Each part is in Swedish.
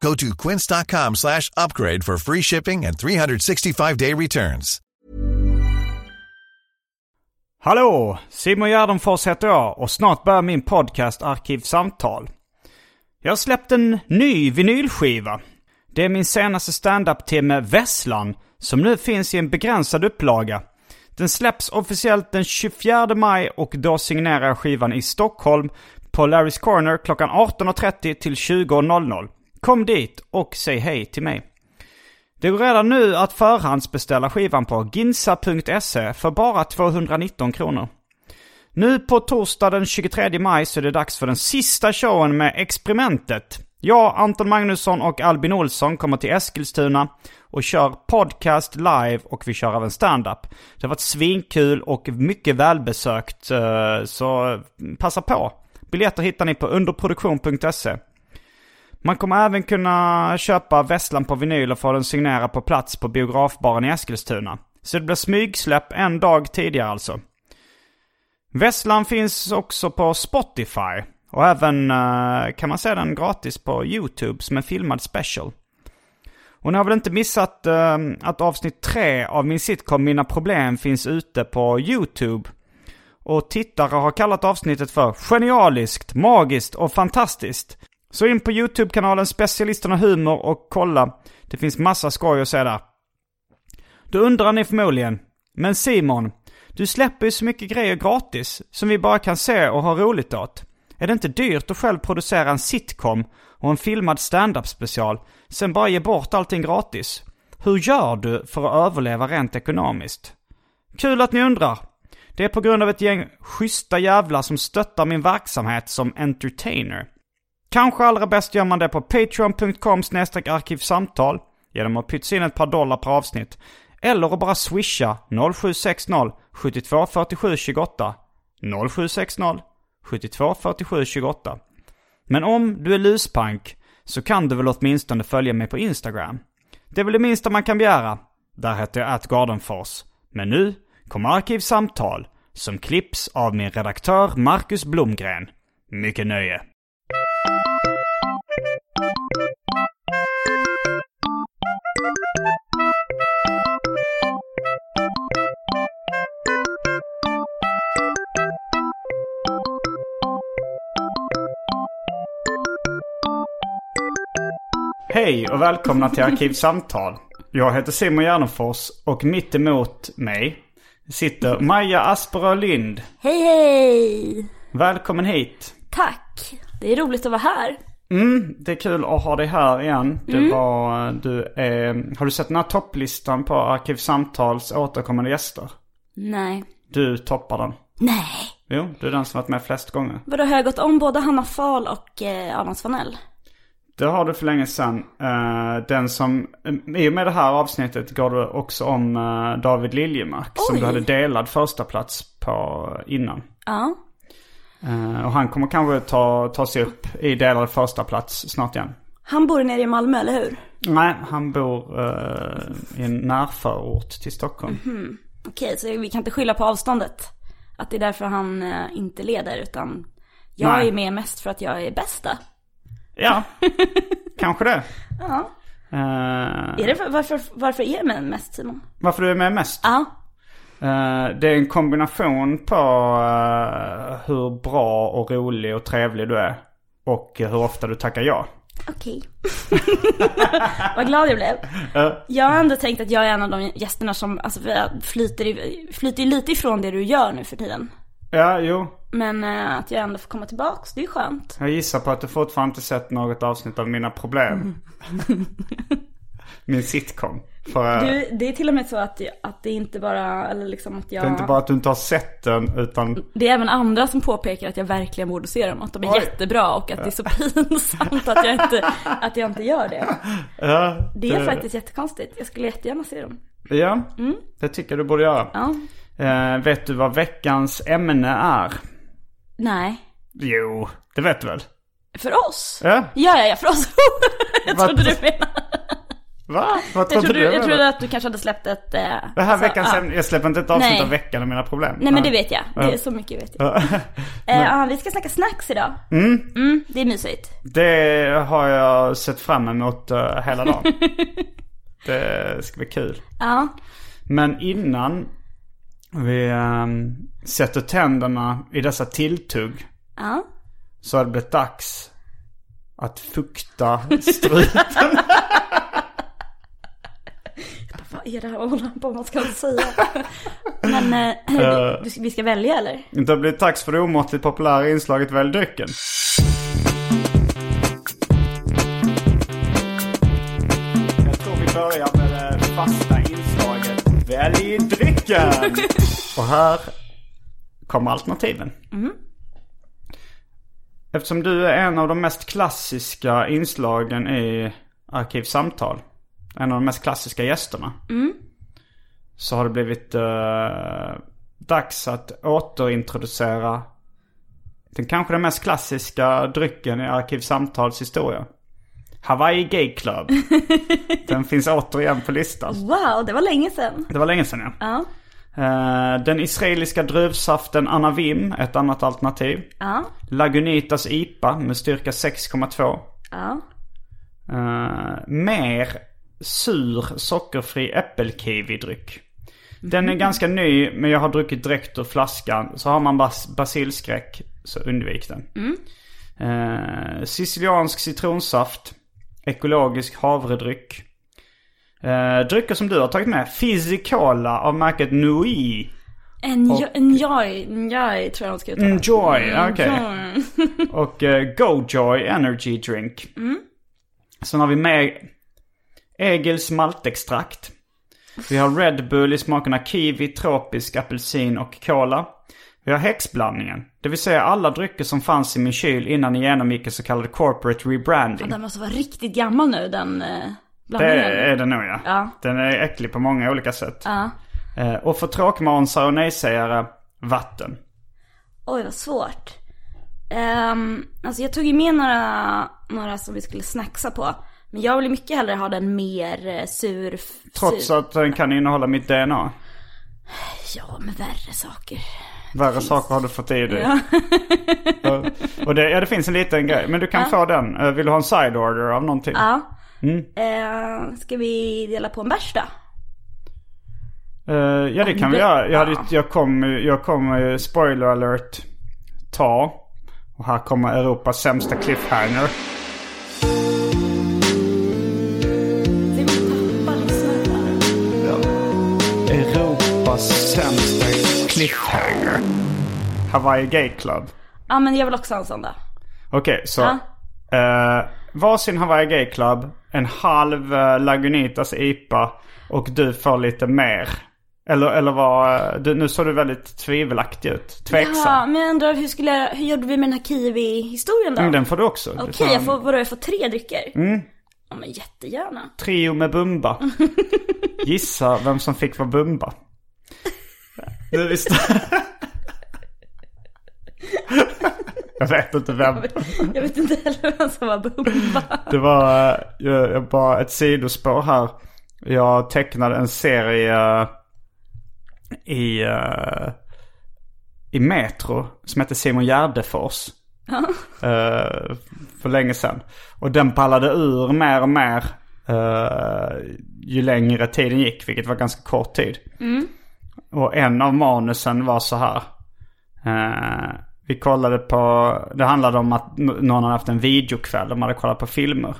Go to quince.com slash upgrade for free shipping and 365-day returns. Hallå! Simon Gärdenfors heter jag och snart börjar min podcast Arkivsamtal. Jag har släppt en ny vinylskiva. Det är min senaste standup-timme Vesslan som nu finns i en begränsad upplaga. Den släpps officiellt den 24 maj och då signerar jag skivan i Stockholm på Larry's Corner klockan 18.30 till 20.00. Kom dit och säg hej till mig. Det går redan nu att förhandsbeställa skivan på ginsa.se för bara 219 kronor. Nu på torsdag den 23 maj så är det dags för den sista showen med Experimentet. Jag, Anton Magnusson och Albin Olsson kommer till Eskilstuna och kör podcast live och vi kör även stand-up. Det har varit svinkul och mycket välbesökt, eh, så passa på. Biljetter hittar ni på underproduktion.se. Man kommer även kunna köpa Vesslan på vinyl och få den signerad på plats på biografbaren i Eskilstuna. Så det blir smygsläpp en dag tidigare alltså. Vesslan finns också på Spotify. Och även eh, kan man se den gratis på YouTube som en filmad special. Och ni har väl inte missat eh, att avsnitt tre av min sitcom Mina Problem finns ute på YouTube. Och tittare har kallat avsnittet för genialiskt, magiskt och fantastiskt. Så in på YouTube-kanalen Specialisterna Humor och kolla. Det finns massa skoj att se där. Då undrar ni förmodligen, men Simon, du släpper ju så mycket grejer gratis som vi bara kan se och ha roligt åt. Är det inte dyrt att själv producera en sitcom och en filmad stand-up special, sen bara ge bort allting gratis? Hur gör du för att överleva rent ekonomiskt? Kul att ni undrar. Det är på grund av ett gäng schyssta jävlar som stöttar min verksamhet som entertainer. Kanske allra bäst gör man det på patreon.com arkivsamtal genom att pytsa in ett par dollar per avsnitt. Eller att bara swisha 0760 72 47 28 0760 72 47 28. Men om du är luspank så kan du väl åtminstone följa mig på Instagram? Det är väl det minsta man kan begära. Där heter jag atgardenfors. Men nu kommer Arkivsamtal som klipps av min redaktör Marcus Blomgren. Mycket nöje. Hej och välkomna till Arkivsamtal. Jag heter Simon Gärdenfors och mitt emot mig sitter Maja Asperö Lind. Hej hej! Välkommen hit. Tack! Det är roligt att vara här. Mm, det är kul att ha dig här igen. Du var, du är, har du sett den här topplistan på Arkivsamtals återkommande gäster? Nej. Du toppar den. Nej. Jo, du är den som varit med flest gånger. Vadå, har jag gått om både Hanna Fahl och eh, Adam Svanell? Det har du för länge sedan. Eh, den som, I och med det här avsnittet går du också om eh, David Liljemark. Som Oj. du hade delad första plats på innan. Ja. Eh, och han kommer kanske ta, ta sig upp i delad första plats snart igen. Han bor nere i Malmö, eller hur? Nej, han bor eh, i en närförort till Stockholm. Mhm. Okej, så vi kan inte skylla på avståndet. Att det är därför han eh, inte leder, utan jag Nej. är med mest för att jag är bästa. Ja, kanske det. Ja. Eh, Är det för, varför, varför är man mest Simon? varför du är med mest? Ja. Eh, det är en kombination på eh, hur bra och rolig och trevlig du är. Och hur ofta du tackar ja. Okej. Vad glad jag blev. Jag har ändå tänkt att jag är en av de gästerna som alltså, vi flyter, i- flyter ju lite ifrån det du gör nu för tiden. Ja, jo. Men eh, att jag ändå får komma tillbaks, det är ju skönt. Jag gissar på att du fortfarande inte sett något avsnitt av Mina Problem. Min sitcom. För eh, Mhm. Du, det är till och med så att, jag- att det inte bara, eller liksom att jag... det är inte bara att du inte har sett den utan... Det är även andra som påpekar att jag verkligen borde se dem, att de är Oj. jättebra och att det är så pinsamt att jag inte, att jag inte gör det. Ja, Det är faktiskt jättekonstigt, jag skulle jättegärna se dem. Ja, det tycker jag du borde göra. Mm. Ja, Eh, vet du vad veckans ämne är? nej. Jo, det vet du väl? För oss? Ja. Ja, ja, ja, för oss. jag Vad- trodde du menade. Va? Vad Jag trodde trodde, du? jag menade? trodde att du kanske hade släppt ett... Eh, Det här veckans ja. ämne, jag släpper inte ett avsnitt Nej. av veckan av mina problem. Nej men det vet jag, det är så mycket vet jag. Eh, ja, vi ska snacka snacks idag. Mm. det är mysigt. Det har jag sett fram emot eh, hela dagen. det ska bli kul. Ja, Men innan vi ehm, sätter tänderna i dessa tilltugg ja. så har det blivit dags att fukta strupen. Vad är det här man håller på vad man ska säga? men eh, du, vi ska välja eller? det har blivit dags för det omåttligt populära inslaget Välj drycken. Jag tror vi börjar med det fasta inslaget Välj drycken. Och här kommer alternativen. Eftersom du är en av de mest klassiska inslagen i Arkivsamtal. En av de mest klassiska gästerna. Så har det blivit eh, dags att återintroducera den kanske den mest klassiska drycken i Arkivsamtals historia. Hawaii Gay Club. den finns återigen på listan. Wow, det var länge sedan. Det var länge sedan ja. Ja, Eh, den israeliska druvsaften Anavim, ett annat alternativ. ja, Lagunitas IPA med styrka 6,2. ja. Eh, mer sur sockerfri äppelkiwidryck. Den är ganska ny men jag har druckit direkt ur flaskan. Så har man bas- basilskräck så undvik den. Eh, siciliansk citronsaft. Ekologisk havredryck. Eh, drycker som du har tagit med. Fizzy Cola av märket Nui. Enjoy, enjoy, enjoy tror jag de ska uttala. Mm. Enjoy, Mm, okej. Och eh, GoJoy Energy Drink. Mm. Sen har vi med Egils maltextrakt. Vi har Red Bull i smakerna kiwi, tropisk, apelsin och cola. Vi har häxblandningen. Det vill säga alla drycker som fanns i min kyl innan ni genomgick en så kallad corporate rebranding. Den måste vara riktigt gammal nu den eh, Det blandningen. är den nog ja. Ja. Den är äcklig på många olika sätt. Ja. Eh, Och för tråkmånsar och nej-sägare, vatten. Oj, vad svårt. Um, alltså jag tog ju med några, några som vi skulle snacksa på. Men jag vill ju mycket hellre ha den mer eh, sur. f- Trots sur. att den kan innehålla mitt DNA. Ja, men värre saker. Värre saker har du fått i dig. Ja. och det, ja, det finns en liten grej. Men du kan få den. Eh, Vill du ha en side order av någonting? Ja. Eh, ska vi dela på en bärs då? Eh, ja, det kan vi Det- göra. Jag, hade, ju- jag kommer jag kom, eh, spoiler alert, ta. Och här kommer Europas sämsta cliffhanger. Vi måste tappa lyssnarna. Europas sämsta cliffhanger. Hawaii Gay Club. Ja, men jag vill också ha en sån då. Okej, så. Uh, varsin Hawaii Gay Club, en halv eh, Lagunitas IPA och du får lite mer. Eller, eller vad, eh, du, nu såg du väldigt tvivelaktig ut. Ja, Tveksam. men jag undrar hur, skulle jag, hur gjorde vi med den här kiwi-historien då? Mm, Den får du också. Du Okej, får jag en får, vadå, jag får tre drycker? Mm. Ja, men jättegärna. Trio med Bumba. Gissa vem som fick vara Bumba. Nu visste Jag vet inte vem. Jag vet inte heller vem som var Bumba. Det var eh, jag, jag bara ett sidospår här. Jag tecknade en serie eh, i, eh, i Metro som hette Simon Gärdefors. Eh, för länge sedan. Och den pallade ur mer och mer eh, ju längre tiden gick, vilket var ganska kort tid. Och en av manusen var så här. Eh, Vi kollade på, det handlade om att n- någon hade haft en videokväll, de hade kollat på filmer.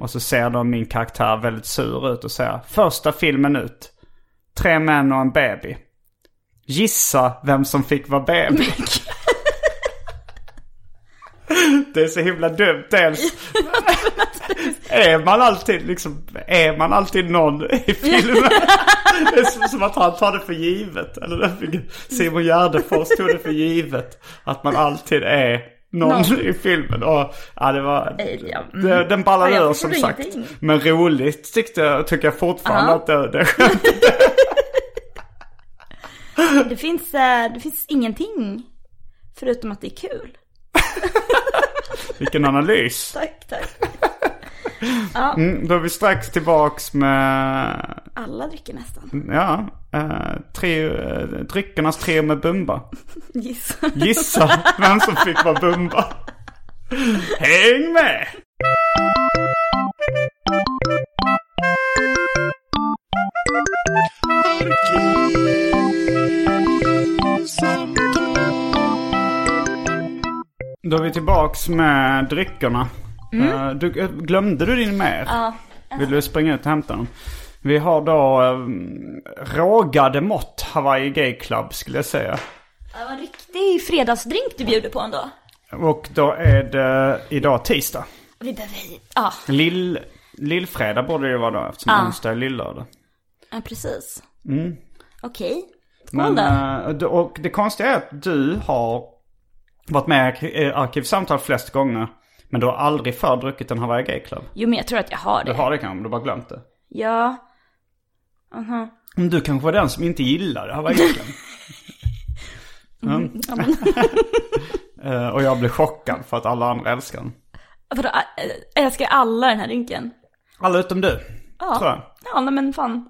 Och så ser de min karaktär väldigt sur ut och säger första filmen ut. Tre män och en baby. Gissa vem som fick vara baby. Det är så himla dumt dels. är man alltid liksom, är man alltid någon i filmen? det är som, som att han tar det för givet. Eller därför Simon Gärdenfors tog det för givet. Att man alltid är någon i filmen. Och, ja, det var, Ja, mm. det, den ballar Ja, jag ur förstår som sagt. ingenting. Men roligt tyckte jag, tycker jag fortfarande Ja. att det, det är skönt. Det finns, eh, det finns ingenting förutom att det är kul. Vilken analys. Tack, tack. Mm, då är vi strax tillbaks med Alla dricker Mm. nästan. Ja, eh, tre, eh, dryckernas tre med Bumba. Gissa. Gissa vem som fick vara Bumba. Häng med! Då är vi tillbaks med dryckerna. Eh, Du, eh, glömde du din med? Ja. Vill du springa ut och hämta den? Vi har då eh, rågade mått Hawaii Gay Club skulle jag säga. Det var en riktig fredagsdrink du bjuder på ändå. Och då är det idag tisdag. Vi behöver... Ja, Lill, lillfredag borde det ju vara då eftersom Ja. onsdag är lillördag. ja, precis. Okej. Skål Mm. Men, då. eh, d- och det konstiga är att du har varit med i ark- eh, Arkivsamtal flest gånger. Men du har aldrig förr druckit en Hawaii Gay Club. Jo, men jag tror att jag har Du det. har det kanske, men du har bara glömt det. Ja. Men du kanske var den som inte gillade Hawaii Gay Club. Mm, Mm. Ja, men, Eh, och jag blev chockad för att alla andra älskar den. vadå, ä- älskar alla den här drinken? Alla utom du, Ja. tror jag. Ja, nej, men fan.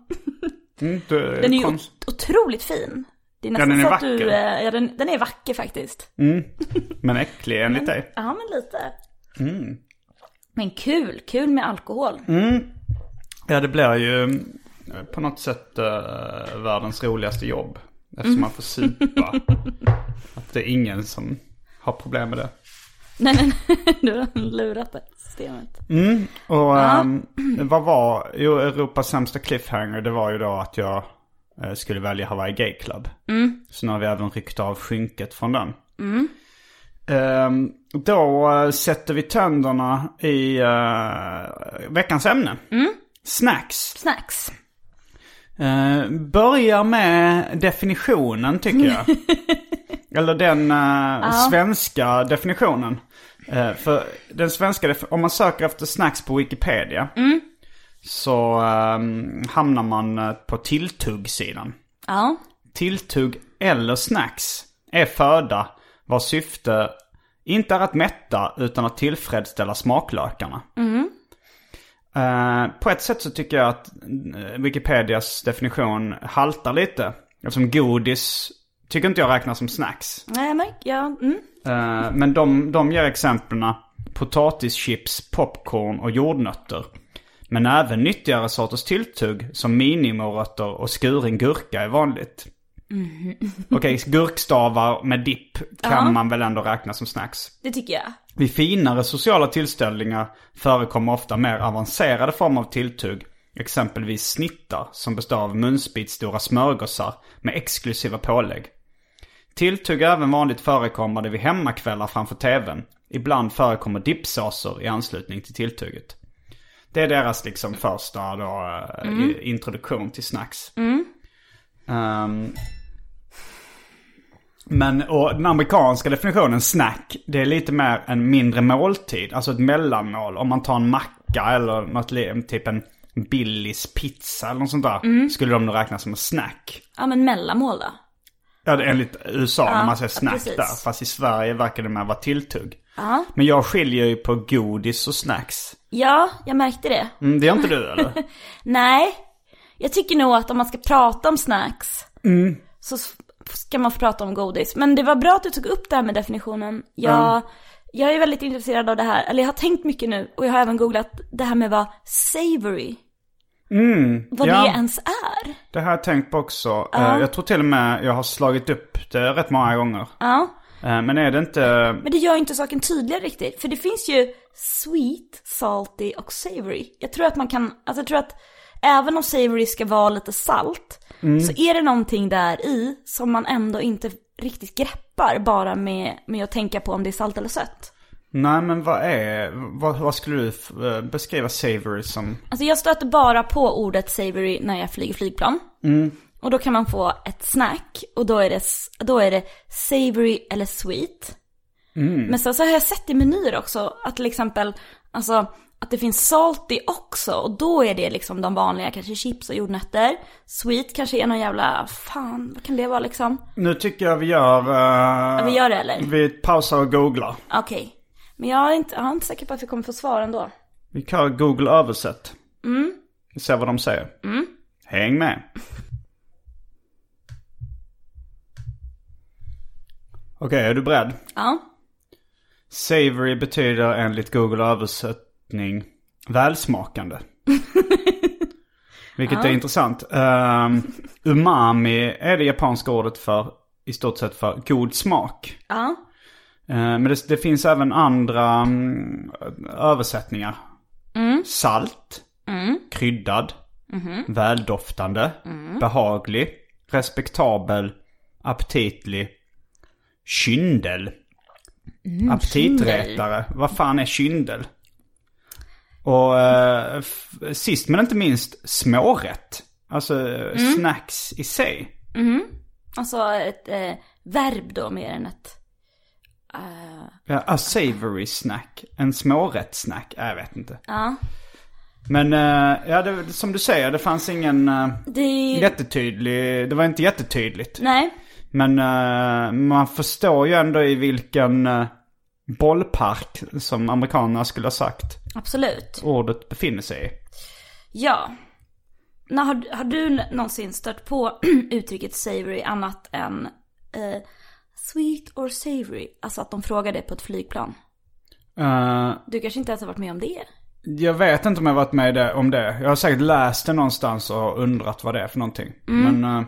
Mm, du, Den är ju konst- ot- otroligt fin. Det är nästan den är så att vacker. Mm. du... eh, Ja, den, den är vacker faktiskt. Men äcklig enligt dig. Ja, men lite. Mm. Men kul, kul med alkohol. Ja, det blir ju eh, på något sätt eh, världens roligaste jobb. Eftersom man får supa. att det är ingen som har problem med det. Nej, nej, nej, du har lurat det systemet. Och ehm, vad var, jo, Europas sämsta cliffhanger det var ju då att jag eh, skulle välja Hawaii Gay Club. Så nu har vi även ryckt av skynket från den. Ehm, då eh, sätter vi tänderna i eh, veckans ämne. Snacks. Snacks. Eh, börja med definitionen tycker jag. Eller den eh, svenska definitionen. Eh, för den svenska, def- om man söker efter snacks på Wikipedia. Så eh, hamnar man eh, på tilltuggsidan. Ja. Tilltugg eller snacks är föda vars syfte inte är att mätta utan att tillfredsställa smaklökarna. Eh, på ett sätt så tycker jag att eh, Wikipedias definition haltar lite. Eftersom godis tycker inte jag räknas som snacks. Nej, jag märker, ja. Mm. Eh, men de, de ger exemplen potatischips, popcorn och jordnötter. Men även nyttigare sorters tilltugg som minimorötter och skuren gurka är vanligt. Okej, gurkstavar med dipp kan man väl ändå räkna som snacks. Det tycker jag. Vid finare sociala tillställningar förekommer ofta mer avancerade former av tilltugg. Exempelvis snittar som består av munspitsstora smörgåsar med exklusiva pålägg. Tilltugg är även vanligt förekommande vid hemmakvällar framför tvn. Ibland förekommer dippsåser i anslutning till tilltugget. Det är deras liksom första då, eh, i- introduktion till snacks. Ehm, men och den amerikanska definitionen snack, det är lite mer en mindre måltid. Alltså ett mellanmål. Om man tar en macka eller något, li- typ en Billys pizza eller något sånt där. Mm. Skulle de nog räknas som en snack. Ja, men mellanmål då. Ja, det är enligt USA när man säger snack precis. där. Fast i Sverige verkar det mer vara tilltugg. Men jag skiljer ju på godis och snacks. Ja, jag märkte det. Mm, det gör inte du eller? Nej, jag tycker nog att om man ska prata om snacks så s- ska man få prata om godis. Men det var bra att du tog upp det här med definitionen. Jag, jag är väldigt intresserad av det här, eller jag har tänkt mycket nu och jag har även googlat det här med vad savory, vad ja. det ens är. Det här har jag tänkt på också. Eh, Jag tror till och med jag har slagit upp det rätt många gånger. Ja. Eh, Men är det inte... Men det gör ju inte saken tydligare riktigt. För det finns ju sweet, salty och savory. Jag tror att man kan, alltså jag tror att även om savory ska vara lite salt, så är det någonting där i som man ändå inte riktigt greppar bara med, med att tänka på om det är salt eller sött. Nej men vad är... Vad, vad skulle du f- eh, beskriva savory som? Alltså jag stöter bara på ordet savory när jag flyger flygplan. Och då kan man få ett snack och då är det, då är det savory eller sweet. Men sen så har jag sett i menyer också att till exempel, alltså att det finns salty också och då är det liksom de vanliga, kanske chips och jordnötter. Sweet kanske är någon jävla, fan vad kan det vara liksom? Nu tycker jag vi gör... eh, vi gör det, eller? Vi pausar och googlar. Okej. Men jag är, inte, jag är inte säker på att vi kommer få svar ändå. Vi kör Google översätt. Vi ser vad de säger. Häng med. Okej, är du beredd? Ja. Savory betyder enligt Google översättning välsmakande. Vilket är intressant. Ehm, umami är det japanska ordet för i stort sett för god smak. Ja. Eh, Men det, det finns även andra mm, översättningar. Salt, kryddad, väldoftande, behaglig, respektabel, aptitlig, kyndel. Aptitretare. Mm, Vad fan är kyndel? Och eh, f- sist men inte minst smårätt. Alltså Mm. eh, snacks i sig. Alltså ett eh, verb då mer än ett Ja, a savory snack. En smårättssnack. Ja, Jag vet inte. Men eh, ja, det, som du säger, det fanns ingen eh, Det är ju... jättetydlig... Det var inte jättetydligt. Nej. Men eh, man förstår ju ändå i vilken eh, bollpark, som amerikanerna skulle ha sagt, Absolut. ordet befinner sig i. Ja. När har, har du n- någonsin stött på uttrycket savory annat än eh, sweet or savory? Alltså att de frågar det på ett flygplan. Eh, Du kanske inte ens har varit med om det? jag vet inte om jag varit med i det, om det. Jag har säkert läst det någonstans och undrat vad det är för någonting. Men... eh,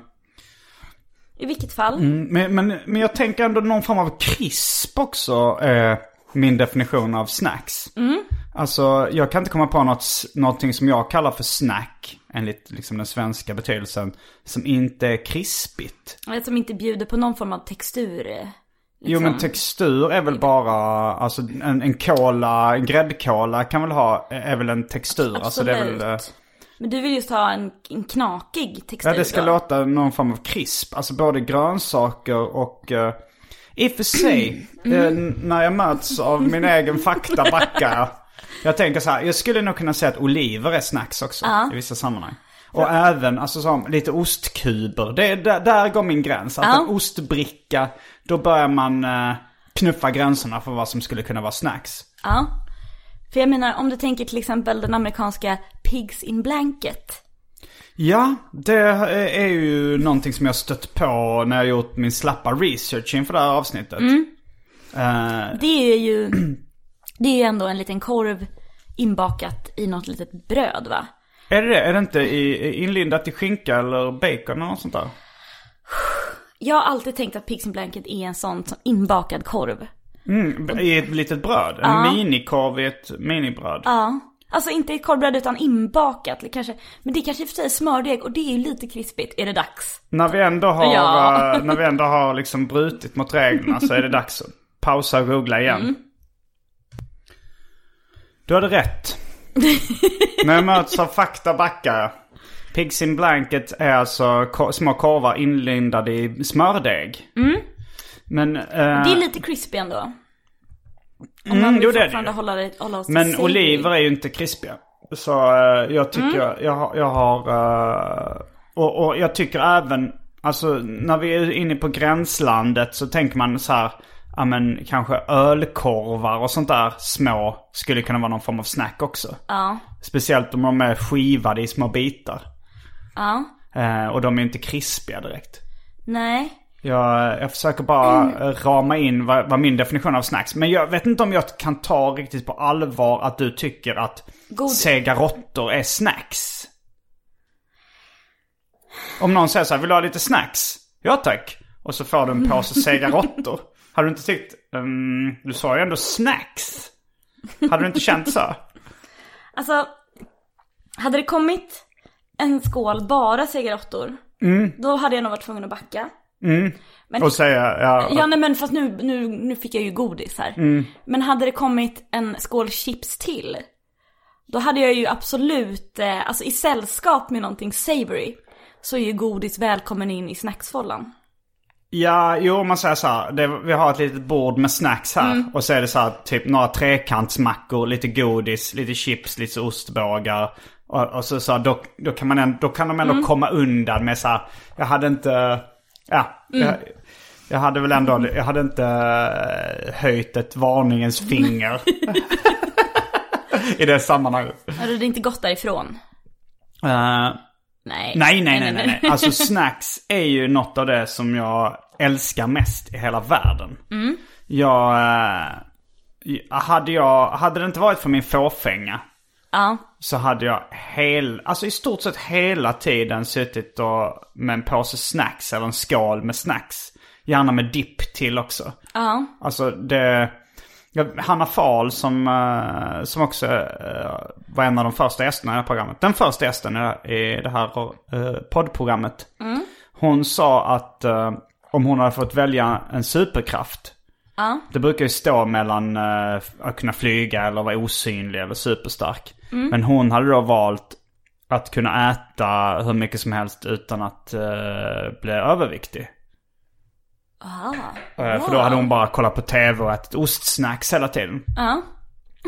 I vilket fall? Men, men, men jag tänker ändå någon form av krisp också är min definition av snacks. Mm. Alltså jag kan inte komma på något, s- någonting som jag kallar för snack, enligt liksom den svenska betydelsen, som inte är krispigt. Eller Som inte bjuder på någon form av textur? eh, Jo men textur är väl bara, alltså en, en cola, en gräddkola kan väl ha, är väl en textur. Alltså det är väl, eh, Absolut. Men du vill just ha en, en knakig textur ja det ska då. låta någon form av krisp. Alltså både grönsaker och eh, I och för sig, eh, n- när jag möts av min egen fakta backar jag. Jag tänker så här, jag skulle nog kunna säga att oliver är snacks också i vissa sammanhang. Och även, alltså som lite ostkuber. Det, är där, där går min gräns. Att en ostbricka, då börjar man eh, knuffa gränserna för vad som skulle kunna vara snacks. Ja. För jag menar, om du tänker till exempel den amerikanska pigs in blanket. Ja, det eh, är ju någonting som jag stött på när jag gjort min slappa research inför det här avsnittet. Eh, Det är ju, det är ju ändå en liten korv inbakat i något litet bröd va? Är det det? Är det inte i, i- inlindat i skinka eller bacon eller något sånt där? Jag har alltid tänkt att pigs in blanket är en sån som inbakad korv. Mm, I ett litet bröd? En minikorv i ett minibröd? Alltså inte i korvbröd utan inbakat. eller Kanske, men det är kanske i och för sig smördeg och det är ju lite krispigt. Är det dags? När vi ändå har, Ja. eh, när vi ändå har liksom brutit mot reglerna så är det dags att pausa och googla igen. Mm. Du hade rätt. När jag möts av fakta backar jag. Pigs in blanket är alltså ko- små korvar inlindade i smördeg. Mm. Men, eh, Det är lite crispy ändå. Om Mm, man vill jo, det är det fortfarande ju. hålla, det, hålla oss Men savory. oliver är ju inte krispiga. Så eh, jag tycker, jag, jag, har- jag har... eh, och, och jag tycker även, alltså när vi är inne på gränslandet så tänker man så här, ja men kanske ölkorvar och sånt där små skulle kunna vara någon form av snack också. Ja. Speciellt om de är skivade i små bitar. Ja. Eh, och de är inte krispiga direkt. Nej. Jag, jag försöker bara eh, rama in vad, vad min definition av snacks. Men jag vet inte om jag kan ta riktigt på allvar att du tycker att God- sega råttor är snacks. Om någon säger så här, vill du ha lite snacks? Ja tack. Och så får du en påse sega råttor. Hade du inte tyckt... ehm, du sa ju ändå snacks. Hade du inte känt så? Alltså, hade det kommit en skål bara cigarettor, Mm. då hade jag nog varit tvungen att backa. Men, Och säga... Ja, Mm. ja, nej men fast nu, nu, nu fick jag ju godis här. Men hade det kommit en skål chips till, då hade jag ju absolut, eh, alltså i sällskap med någonting savory, så är ju godis välkommen in i snacksfållan. Ja, jo man säger så här. Det, vi har ett litet bord med snacks här. Och så är det så här typ några trekantsmackor, lite godis, lite chips, lite ostbågar. Och, och så, så här, då, då, kan man ändå, då kan de ändå komma undan med så här. Jag hade inte... Ja. Jag, jag hade väl ändå... Jag hade inte eh, höjt ett varningens finger. I det sammanhanget. Hade det inte gått därifrån? Eh, Nej. Nej, nej, nej, nej, nej. Alltså snacks är ju något av det som jag älskar mest i hela världen. Jag... eh, Hade jag... Hade det inte varit för min fåfänga Ja. så hade jag hel... Alltså i stort sett hela tiden suttit och, med en påse snacks eller en skål med snacks. Gärna med dipp till också. Ja. Alltså det... ja, Hanna Fahl som, eh, som också eh, var en av de första gästerna i det här programmet. Den första gästen i- i det här eh, poddprogrammet. Hon sa att eh, om hon hade fått välja en superkraft. Ja. Det brukar ju stå mellan eh, att kunna flyga eller vara osynlig eller superstark. Mm. Men hon hade då valt att kunna äta hur mycket som helst utan att eh, bli överviktig. Aha. Eh, För då hade hon bara kollat på tv och ätit ostsnacks hela tiden. Ja.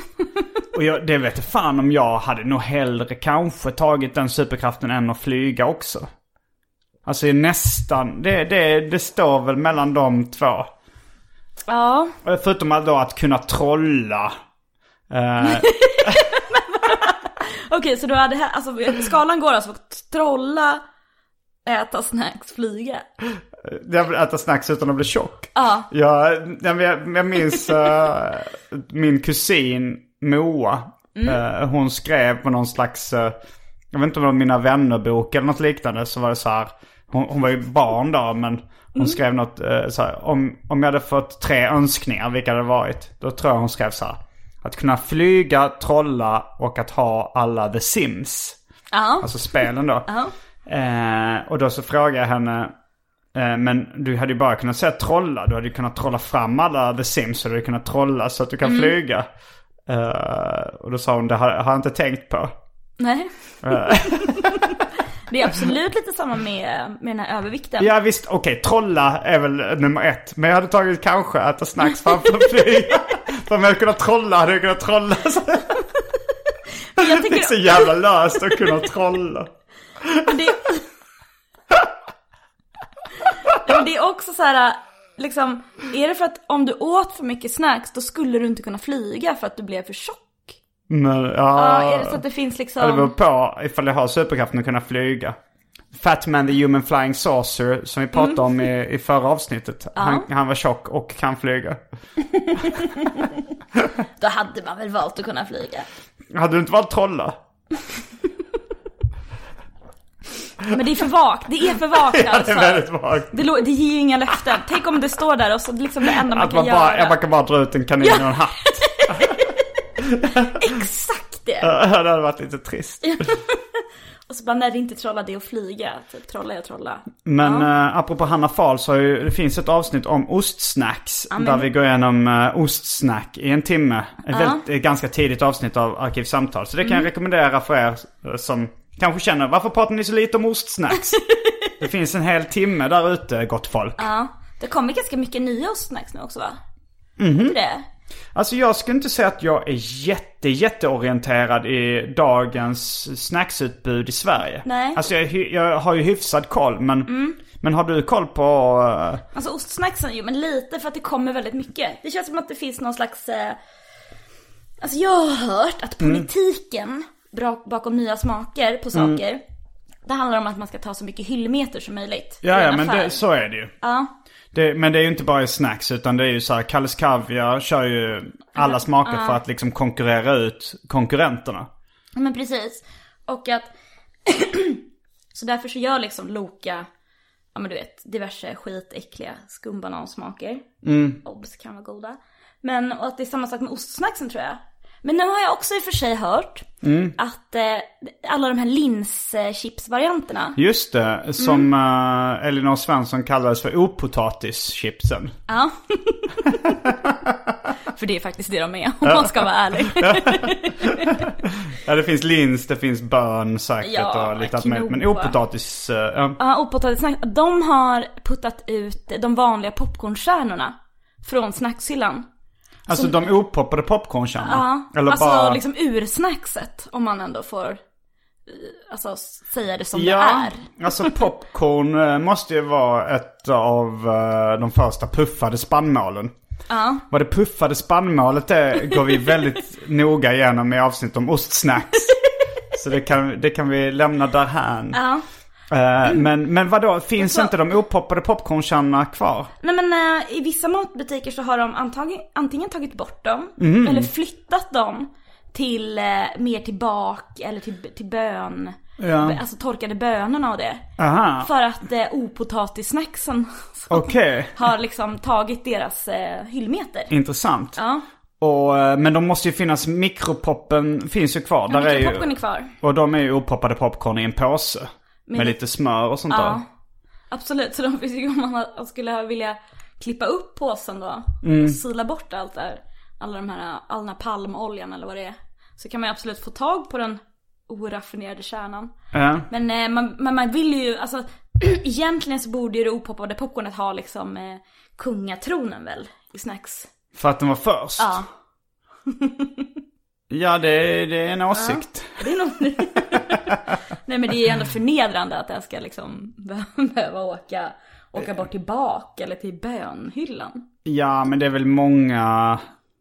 Och jag, det vet jag fan om jag hade nog hellre kanske tagit den superkraften än att flyga också. Alltså det är nästan, det, det, det står väl mellan de två. Ja. Eh, Förutom att då att kunna trolla. Eh, Okej, så du hade, här- alltså skalan går alltså att trolla, äta snacks, flyga. jag vill äta snacks utan att bli tjock. Ja. Jag, jag, jag, jag minns eh, min kusin Moa. Eh, hon skrev på någon slags, eh, jag vet inte om det var Mina vännerbok eller något liknande. Så var det så här, hon, hon var ju barn då men hon skrev något eh, så här, om, om jag hade fått tre önskningar, vilka hade det varit? Då tror jag hon skrev så här. Att kunna flyga, trolla och att ha alla The Sims. Ja. Alltså spelen då. Ja. Eh, och då så frågade jag henne, eh, men du hade ju bara kunnat säga trolla. Du hade ju kunnat trolla fram alla The Sims och du hade kunnat trolla så att du kan Mm. flyga. Eh, och då sa hon, det har, har jag inte tänkt på. Nej. Alltså. det är absolut lite samma med, med den här övervikten. Ja visst, okej, trolla är väl nummer ett. Men jag hade tagit kanske äta snacks framför att flyga. För om jag hade kunnat trolla hade jag kunnat trolla. Så jag det är så tycker jävla löst att kunna trolla. det... Ja, men det är också så här, liksom, är det för att om du åt för mycket snacks då skulle du inte kunna flyga för att du blev för tjock? Men, ja. Ja, är det så att det finns liksom... Ah. Ja, det beror på ifall jag har superkraften att kunna flyga. Fatman the Human Flying Saucer som vi Mm. pratade om i, i förra avsnittet. Han, han var tjock och kan flyga. Då hade man väl valt att kunna flyga. Hade du inte varit trolla? Men det är för vagt, det är för vagt Det alltså. är väldigt vagt. Det, lå- det ger ju inga löften. Tänk om det står där och så liksom det enda man Att kan man bara, göra. ja, man kan bara dra ut en kanin ur en hatt. Exakt det! Det hade varit lite trist. Och så bara, när det inte trolla det och flyga. Typ, trolla jag trolla. Men eh, apropå Hanna Fahl så har ju, det finns ett avsnitt om ostsnacks. Där vi går igenom eh, ostsnack i en timme. Ett väldigt, ett ganska tidigt avsnitt av Arkivsamtal. Så det kan jag Mm. rekommendera för er eh, som kanske känner varför pratar ni så lite om ostsnacks? det finns en hel timme där ute gott folk. Ja. Det kommer ganska mycket nya snacks nu också va? Mhm. mm Det? Alltså jag skulle inte säga att jag är jätte, jätteorienterad i dagens snacksutbud i Sverige. Nej. Mm. Alltså jag, hy- jag har ju hyfsad koll men, men har du koll på eh, Alltså ostsnacksen, jo men lite för att det kommer väldigt mycket. Det känns som att det finns någon slags... Eh... Alltså jag har hört att Mm. politiken bra- bakom nya smaker på saker. Mm. Det handlar om att man ska ta så mycket hyllmeter som möjligt. Ja, i ja en men affär. det, så är det ju. Ja. Det, men det är ju inte bara i snacks utan det är ju så här, Kalles Kaviar kör ju Alltså, alla smaker för att liksom konkurrera ut konkurrenterna. Ja, Men precis. Och att... så därför så gör liksom Loka ja men du vet, diverse skitäckliga skumbanansmaker. Obs kan vara goda. Men och att det är samma sak med ostsnacksen tror jag. Men nu har jag också i och för sig hört att eh, alla de här linschipsvarianterna. Just det, som Mm. eh, Elinor Svensson kallades för opotatis-chipsen. Ja. för det är faktiskt det de är om man ska vara ärlig. Ja, det finns lins, det finns bön säkert Ja, och lite allt möjligt. Men quinoa. opotatis, eh, ja. Ja, opotatissnack. De har puttat ut de vanliga popcornkärnorna från snackshyllan. Alltså de opoppade popcornkärnorna. Ja, Eller alltså bara... liksom ursnackset om man ändå får eh, alltså, säga det som det Ja, är. alltså popcorn eh, måste ju vara ett av eh, de första puffade spannmålen. Ja. Vad det puffade spannmålet är går vi väldigt noga igenom i avsnitt om ostsnacks. Så det kan, det kan vi lämna därhän. Ja. Alltså- Eh, men, men vadå, finns Jag inte de opoppade popcornkärnorna kvar? Nej men eh, i vissa matbutiker så har de antag- antingen tagit bort dem Mm. eller flyttat dem till eh, mer till bak eller till, till bön. Ja. Alltså torkade bönorna och det. Aha, För att eh, opotatissnacksen okej. har liksom tagit deras eh, Mm. hyllmeter. Intressant. Ja, Och, eh, men de måste ju finnas, mikropoppen finns ju kvar. Där är mikropopcorn ju, är kvar. och de är ju opoppade popcorn i en påse. Med, Men- lite smör och sånt där. Mm. Ja, absolut. Så de finns ju om man skulle vilja klippa upp påsen då. Sila bort allt där. Alla de här, all den här palmoljan eller vad det är. Så kan man ju absolut få tag på den oraffinerade kärnan. Ja. Men eh, man, men man vill ju, alltså egentligen så borde ju det opoppade popcornet ha liksom eh, kungatronen väl i snacks. För att den var först? Ja, Ja, det, det är en åsikt. det är nog... Nej men det är ju ändå förnedrande att den ska liksom behöva åka, åka bort till bak eller till bönhyllan. Ja, men det är väl många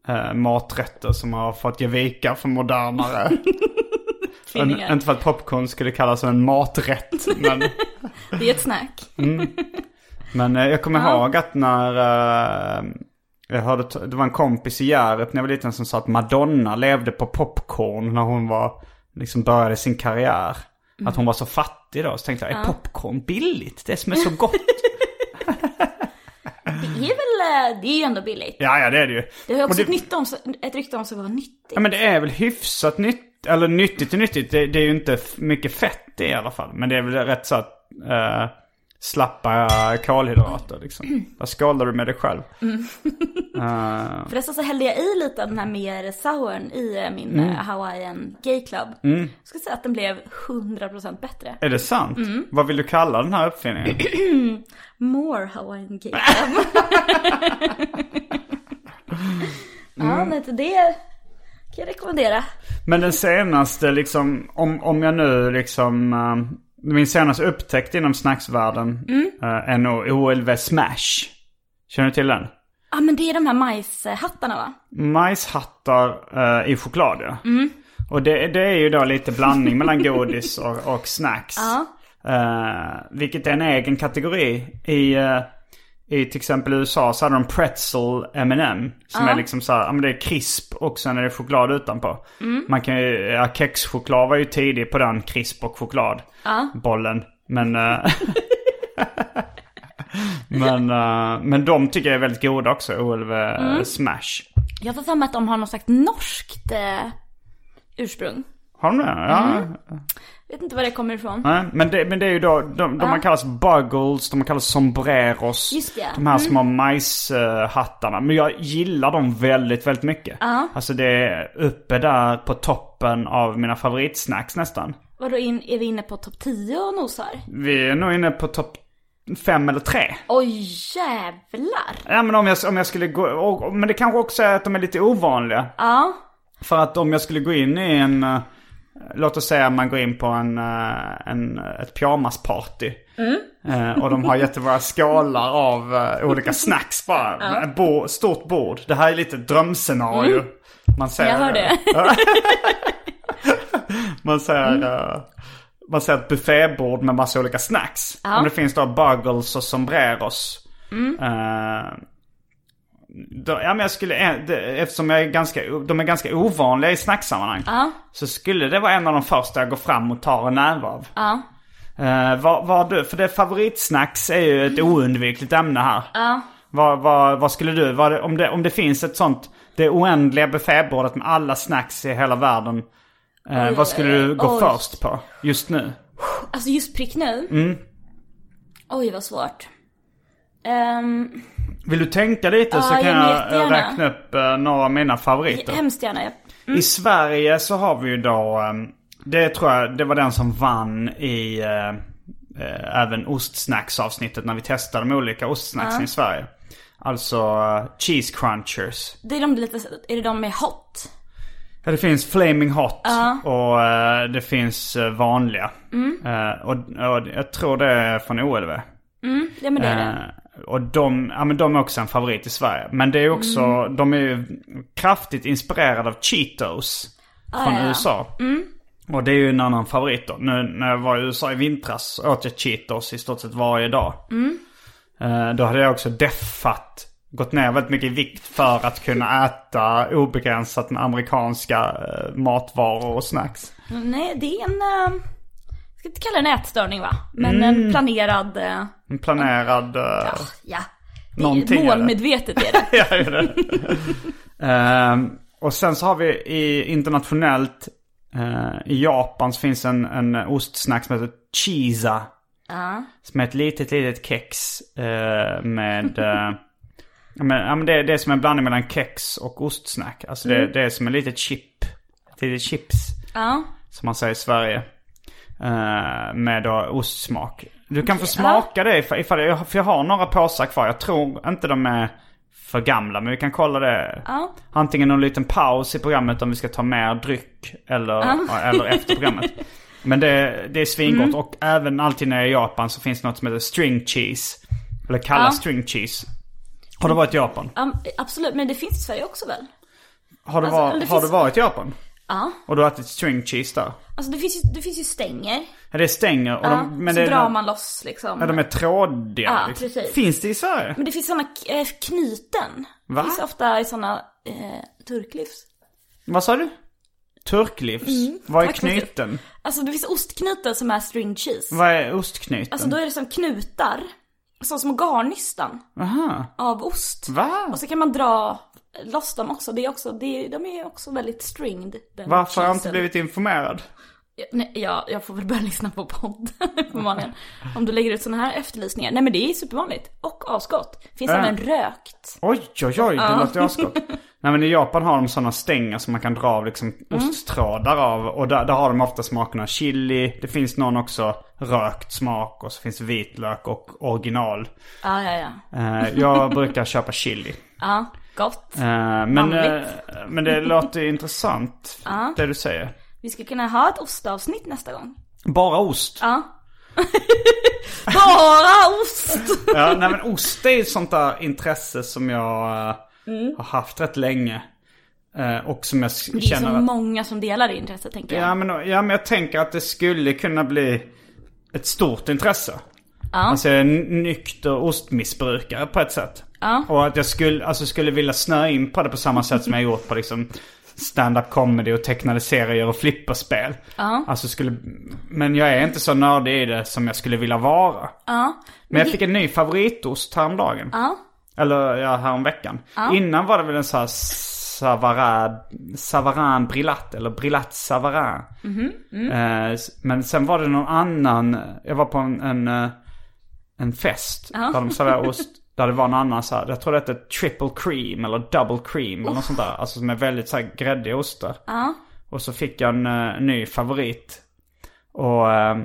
eh, maträtter som har fått ge vika för modernare. en, Finningar. inte för att popcorn skulle kallas en maträtt, men, Det är ett snack. men eh, jag kommer ihåg att när eh, jag hörde, t- det var en kompis i Hjärup när jag var liten som sa att Madonna levde på popcorn när hon var, liksom började sin karriär. Att hon var så fattig då, så tänkte jag, är popcorn billigt? Det som är så gott. Det är väl, eh, det är ju ändå billigt. ja, ja det är det ju. Det har ju Och också det- ett, nytta om, sig- ett rykte om sig vara nyttigt. Ja men det är väl hyfsat nytt, eller nyttigt och nyttigt. Det, det är ju inte f- mycket fett i alla fall. Men det är väl rätt så att eh, slappa kolhydrater liksom. Vad skålar du med dig själv? Mm. Förresten så hällde jag i lite av den här mer sourn i eh, min eh, Hawaiian Gay Club. Jag skulle säga att den blev 100% bättre. Är det sant? Mm. Vad vill du kalla den här uppfinningen? More Hawaiian Gay Club. Ja, men det- det kan jag rekommendera. Men den senaste liksom, om, om jag nu liksom... eh, min senaste upptäckt inom snacksvärlden Mm. eh, är nog OLV Smash. Känner du till den? Ja, men det är de här majshattarna va? majshattar eh, i choklad ja. Och det, det är ju då lite blandning mellan godis och, och snacks. Eh, vilket är en egen kategori. I, eh, I till exempel USA så hade de pretzel M&M Som är liksom så här, ja men det är krisp och sen är det choklad utanpå. Man kan ju, ja, kexchoklad var ju tidig på den krisp och choklad bollen. Men, eh, men, eh, men de tycker jag är väldigt goda också, OLV Smash. Jag får för mig att de har något slags norskt eh, ursprung. Har de det? Ja. Mm. Vet inte var det kommer ifrån. Nej, men, det, men det är ju då, de, de har kallats buggles, de har kallats sombreros. Just det. Mm. De här små majshattarna. Men jag gillar dem väldigt, väldigt mycket. Alltså det är uppe där på toppen av mina favoritsnacks nästan. Vadå, in, är vi inne på topp 10 och nosar? Vi är nog inne på topp fem eller tre. Oj jävlar! Ja men om jag, om jag skulle gå, och, och- men det kanske också är att de är lite ovanliga. Ja, För att om jag skulle gå in i en, eh, låt oss säga man går in på en, eh, en ett pyjamasparty. Mm. Eh, Och de har jättebra skålar av eh, olika snacks bara. Ett bo, stort bord. Det här är lite ett drömscenario. Man ser, Mm. eh, jag hör det. Man ser, eh, man ser ett buffébord med massa olika snacks. Om det finns då buggles och sombreros. Mm. Eh, då, ja, men jag skulle, eh, det- eftersom jag är ganska, o- de är ganska ovanliga i snacksammanhang. Så skulle det vara en av de första jag går fram och tar en näve av. Eh, vad, vad du, för det favoritsnacks är ju ett oundvikligt ämne här. Ja. Vad, vad, vad skulle du, vad, om, det, om det finns ett sånt, det oändliga buffébordet med alla snacks i hela världen. eh, Oj, vad skulle du gå oj. först på just nu? Alltså just prick nu? Mm. Oj vad svårt. Um, Vill du tänka lite så Ja, kan jag jag, vill eh, jättegärna. räkna upp eh, några av mina favoriter. hemskt gärna. Jag, I Sverige så har vi ju då, eh, det tror jag, det var den som vann i eh, eh, även ostsnacksavsnittet när vi testade de olika ostsnacksen i Sverige. Alltså eh, cheese crunchers. det är de lite, är det de med hot? Ja, det finns Flaming Hot och eh, det finns eh, vanliga. Mm. Eh, och, och jag tror det är från OLV. Ja men det är det. Eh, och de, ja, men de är också en favorit i Sverige. Men det är ju också, Mm. de är ju kraftigt inspirerade av Cheetos från Ah, ja, Mm. ja. USA. Och det är ju en annan favorit då. Nu när jag var i USA i vintras åt jag Cheetos i stort sett varje dag. Mm. Eh, Då hade jag också deffat, gått ner väldigt mycket i vikt för att kunna äta obegränsat med amerikanska eh, matvaror och snacks. Nej det är en, eh, jag ska inte kalla det en ätstörning va? Men Mm. en planerad, eh, ah, En planerad... eh, ja. Det är Någonting, eller? målmedvetet är det. Ja, det är det. Ehm, och sen så har vi i internationellt, eh, i Japan så finns en, en ostsnack som heter Cheeza. Ja. Som är ett litet, litet kex eh, med... eh, ja, men, ja, men det, det är som en blandning mellan kex och ostsnack. Alltså det, det är som en litet chip. Ett litet chips. ja. Som man säger i Sverige. Eh, med då ostsmak. Du kan få smaka det ifall, ifall jag, för jag har några påsar kvar. Jag tror inte de är för gamla men vi kan kolla det. Ja. Antingen någon liten paus i programmet om vi ska ta mer dryck eller, eller efter programmet. Men det, det är svingott Mm. och även alltid när jag är i Japan så finns något som heter string cheese. Eller kallas Ja. string cheese. Har du varit i Japan? Ja, absolut, men det finns i Sverige också väl? Har du, Alltså, var, det har du finns- varit i Japan? Ja. Och du har ätit string cheese där? Alltså det finns ju, det finns ju stänger. Ja, det stänger och Ja, de, men så det är drar man loss liksom. Ja, de är trådiga. Ja, liksom. precis. Finns det i Sverige? Men det finns sådana eh, knyten. Va? Det finns ofta i sådana eh, turklivs. Vad sa du? Turklivs? Vad är Mm, tack så mycket. knyten? Alltså det finns ostknutar som är string cheese. Vad är ostknyten? Alltså då är det som knutar, som små garnnystan Aha. av ost. Va? Och så kan man dra loss dem också, det är också, det är, de är också väldigt stringed. Den Varför har jag inte cheesen. blivit informerad? Ja, Nej, jag, jag får väl börja lyssna på podd förmodligen. Om du lägger ut sådana här efterlysningar. Nej men det är supervanligt. Och asgott. Finns Ja. även rökt. Oj, oj, oj, det låter asgott. Nej men i Japan har de sådana stänger som man kan dra av liksom Mm. osttrådar av. Och där, där har de ofta smakerna chili. Det finns någon också rökt smak och så finns vitlök och original. Ja, ja, ja. Eh, jag brukar köpa chili. Ja, gott. Eh, men, eh, Vanligt. men det låter ju intressant det du säger. Vi skulle kunna ha ett ostavsnitt nästa gång. Bara ost? Ja. Bara ost! Ja, nej men ost är ju ett sånt där intresse som jag eh, har haft rätt länge. Eh, Och som jag s- Mm. Det är så känner att... många som delar det intresset tänker jag. Ja men, ja men jag tänker att det skulle kunna bli ett stort intresse. Alltså jag är en nykter ostmissbrukare på ett sätt. Och att jag skulle, alltså, skulle vilja snöa in på det på samma sätt som jag gjort på liksom stand-up comedy och tecknade serier och flipperspel. Alltså skulle, men jag är inte så nördig i det som jag skulle vilja vara. Men jag fick en ny favoritost häromdagen. Eller ja, häromveckan. Innan var det väl en sån här Savarin, Savarin Brillat eller Brillat Savarin. Eh, s- men sen var det någon annan, jag var på en, en, eh, en fest där de serverade ost. Där det var en annan så här, jag tror det hette triple cream eller double cream eller något sånt där. Alltså som är väldigt så här gräddiga ostar. Och så fick jag en eh, ny favorit. Och eh,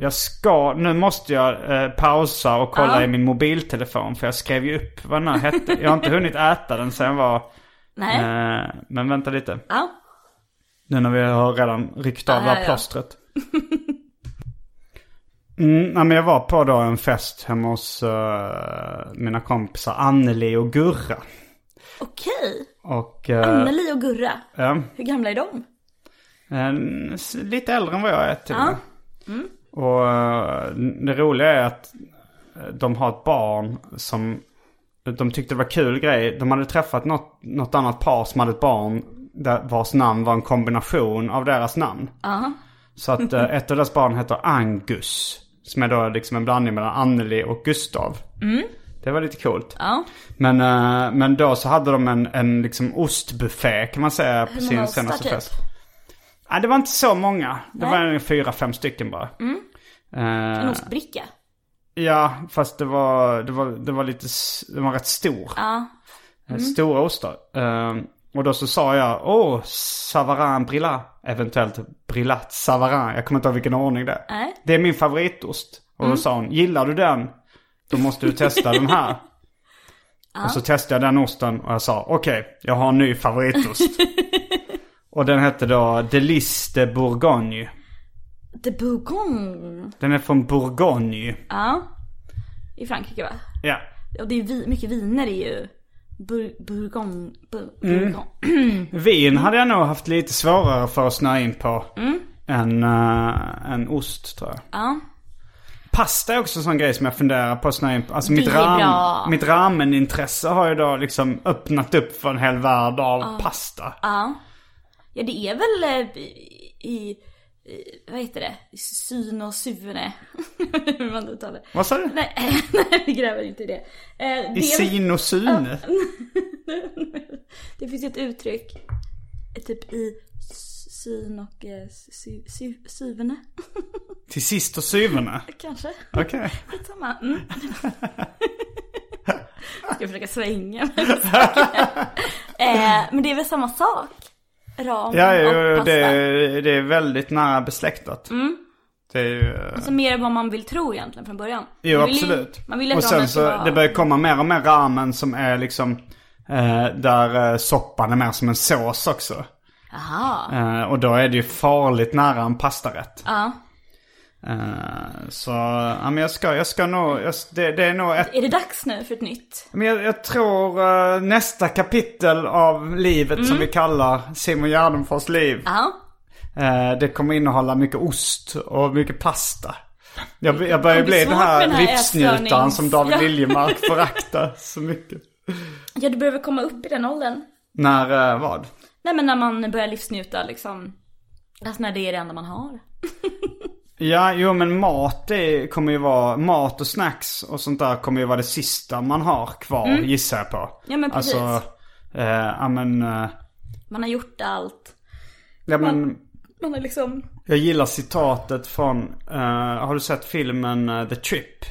jag ska, nu måste jag eh, pausa och kolla i min mobiltelefon för jag skrev ju upp vad den här hette. Jag har inte hunnit äta den sen jag var, Nej. eh, men vänta lite. Ja. Nu när vi har redan ryckt av det ja, här ja. plåstret. Mm, nej, men jag var på då en fest hemma hos eh, mina kompisar Anneli och Gurra. Okej. Och eh, Anneli och Gurra. ja, Hur gamla är de? en- Ehm, s- lite äldre än vad jag är till och Ja. med. Och eh, det roliga är att eh, de har ett barn som de tyckte det var kul grej. De hade träffat något, något annat par som hade ett barn där vars namn var en kombination av deras namn. Så att eh, ett av deras barn heter Angus. Som är då liksom en blandning mellan Anneli och Gustav. Det var lite coolt. Ja. Men, eh, men då så hade de en, en liksom ostbuffé kan man säga på Hur sin många ostar senaste typ? fest. Nej, det var inte så många. Det var var fyra, fem stycken bara. Eh, Mm. En ostbricka. ja, fast det var, det var, det var lite, s- den var rätt stor. Ja. Mm. Eh, Stora ostar. Eh, och då så sa jag, åh, Savarin Brillat. Eventuellt Brillat Savarin. Jag kommer inte ihåg vilken ordning det är. Nej. Mm. Det är min favoritost. Och då sa hon, gillar du den? Då måste du testa den här. Och så testade jag den osten och jag sa, okej, jag har en ny favoritost. och den hette då Delice de Bourgogne. De Bourgogne. Den är från Bourgogne. Ja. I Frankrike va? Ja. Och det är ju vi, mycket viner är ju Bur- Bourgogne. Bur- Mm. Bourgogne. Vin hade jag nog haft lite svårare för att snöa in på. Än, eh, än ost tror jag. Mm. Ja. Pasta är också en sån grej som jag funderar på att snöa in på. Alltså Det mitt, är ram, bra. mitt ramenintresse har ju då liksom öppnat upp för en hel värld av pasta. Ja det är väl eh, i, i, i vad heter det? I Syn och Sune. Hur man uttalar det. Vad sa du? Nej, nej vi gräver inte i det. Eh, I sin och syn. Det finns ju ett uttryck. eh, Typ i s- syn och eh, sy, sy, syvene. Till sist och syvende. Kanske. Okej. Skitsamma. Mm. Ska jag försöka svänga med eh, Men det är väl samma sak? Ram Ja, jo, och jo, pasta. det, Mm. är- det är väldigt nära besläktat. Det är ju... eh, Så Alltså, mer vad man vill tro egentligen från början. Jo, man vill ju- absolut. Man vill ju och att ramen sen ska så, vara... det börjar komma mer och mer ramen som är liksom, eh, där eh, soppan är mer som en sås också. Aha. Eh, och då är det ju farligt nära en pastarätt. Ja. Eh, så, ja men jag ska, jag ska nog, jag, det, det är nog ett, Är det dags nu för ett nytt? men jag, jag tror eh, nästa kapitel av livet Mm. som vi kallar Simon Gärdenfors liv. Ja. Eh, det kommer innehålla mycket ost och mycket pasta. Jag, jag börjar Det blir bli den svårt här, med den här livsnjutaren som David ätstörnings- Ja. Liljemark föraktar så mycket. Ja, du behöver komma upp i den åldern. När eh, vad? Nej men när man börjar livsnjuta liksom. Alltså när det är det enda man har. Ja, jo men mat det kommer ju vara, mat och snacks och sånt där kommer ju vara det sista man har kvar gissar jag på. Mm. Ja, men precis. Alltså, eh, ja men, eh, Man har gjort allt. ja, men Man har liksom... jag gillar citatet från, eh, har du sett filmen eh, The Trip?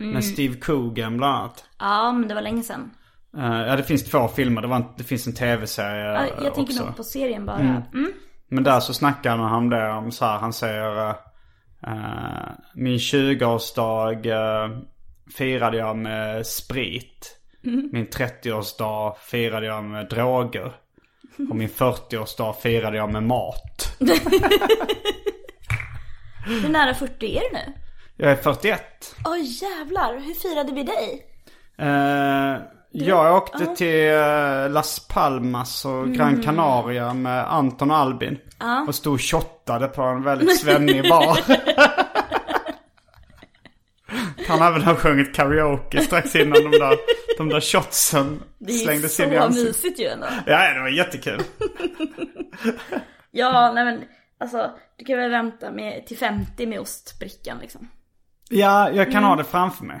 Mm. Med Steve Coogan bland annat. Ja, men det var länge sedan. Eh, ja det finns två filmer, det, var en, det finns en tv-serie Ja, eh, jag tänker också. nog på serien bara. Mm. Men där så snackar han om det, om så här, han säger eh, eh, Min 20-årsdag eh, firade jag med sprit. Min 30-årsdag firade jag med droger. Och min 40-årsdag firade jag med mat. Hur nära 40 är du nu? Jag är 41. Åh jävlar, hur firade vi dig? Eh, jag åkte till eh, Las Palmas och Mm. Gran Canaria med Anton och Albin. Och stod och shottade på en väldigt svennig bar. Han har även har sjungit karaoke strax innan de där, de där shotsen Det är ju slängdes så in i ansiktet. mysigt ju ändå. Ja, det var jättekul. Ja, nej men alltså du kan väl vänta med, till 50 med ostbrickan liksom. Ja, jag Mm. kan ha det framför mig.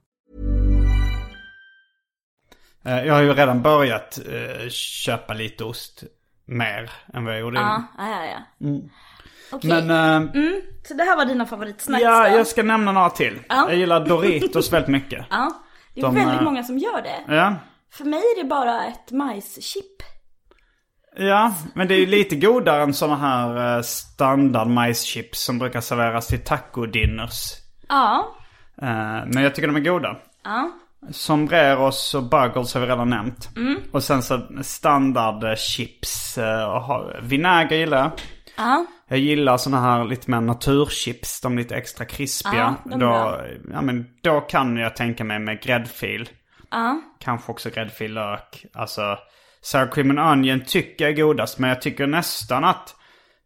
Eh, Jag har ju redan börjat eh, köpa lite ost mer än vad jag gjorde innan. Ja, ja, ja. ja. Okej. Mm. Men eh, Mm, så det här var dina favoritsnacks ja, då? jag ska nämna några till. Ja. Jag gillar Doritos väldigt mycket. Ja. Det är De, väldigt eh, många som gör det. Ja. För mig är det bara ett majschip. ja, men det är ju lite godare än sådana här eh, standard majschips som brukar serveras till tacodinners. Ja, Eh, Men jag tycker de är goda. ja, Sombreros och buggles har vi redan nämnt. Mm. Och sen så standard eh, chips. eh, och ha- Vinäger gillar jag. ja. Jag gillar såna här lite mer naturchips. De lite extra krispiga. Ja, de är då, bra. ja, men då kan jag tänka mig med gräddfil. ja. Kanske också gräddfil, lök. Alltså sour cream and onion tycker jag är godast. Men jag tycker nästan att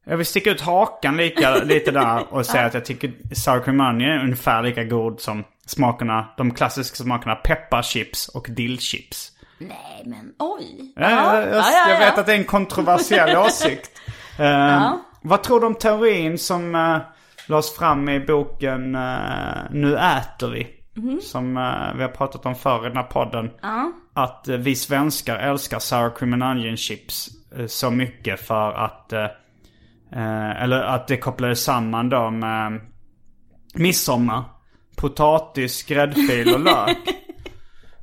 jag vill sticka ut hakan lika, lite där och säga att jag tycker sour cream and onion är ungefär lika god som smakerna, de klassiska smakerna pepparchips och dillchips. Nej men oj. Ja, jag, jag, jag vet att det är en kontroversiell åsikt. Eh, Vad tror du om teorin som uh, lades fram i boken eh, Nu äter vi? Som eh, vi har pratat om förr i den här podden. Att eh, vi svenskar älskar sour cream and onion chips eh, så mycket för att... eh, eh, eller att det kopplades samman då med eh, midsommar. Potatis, gräddfil och lök.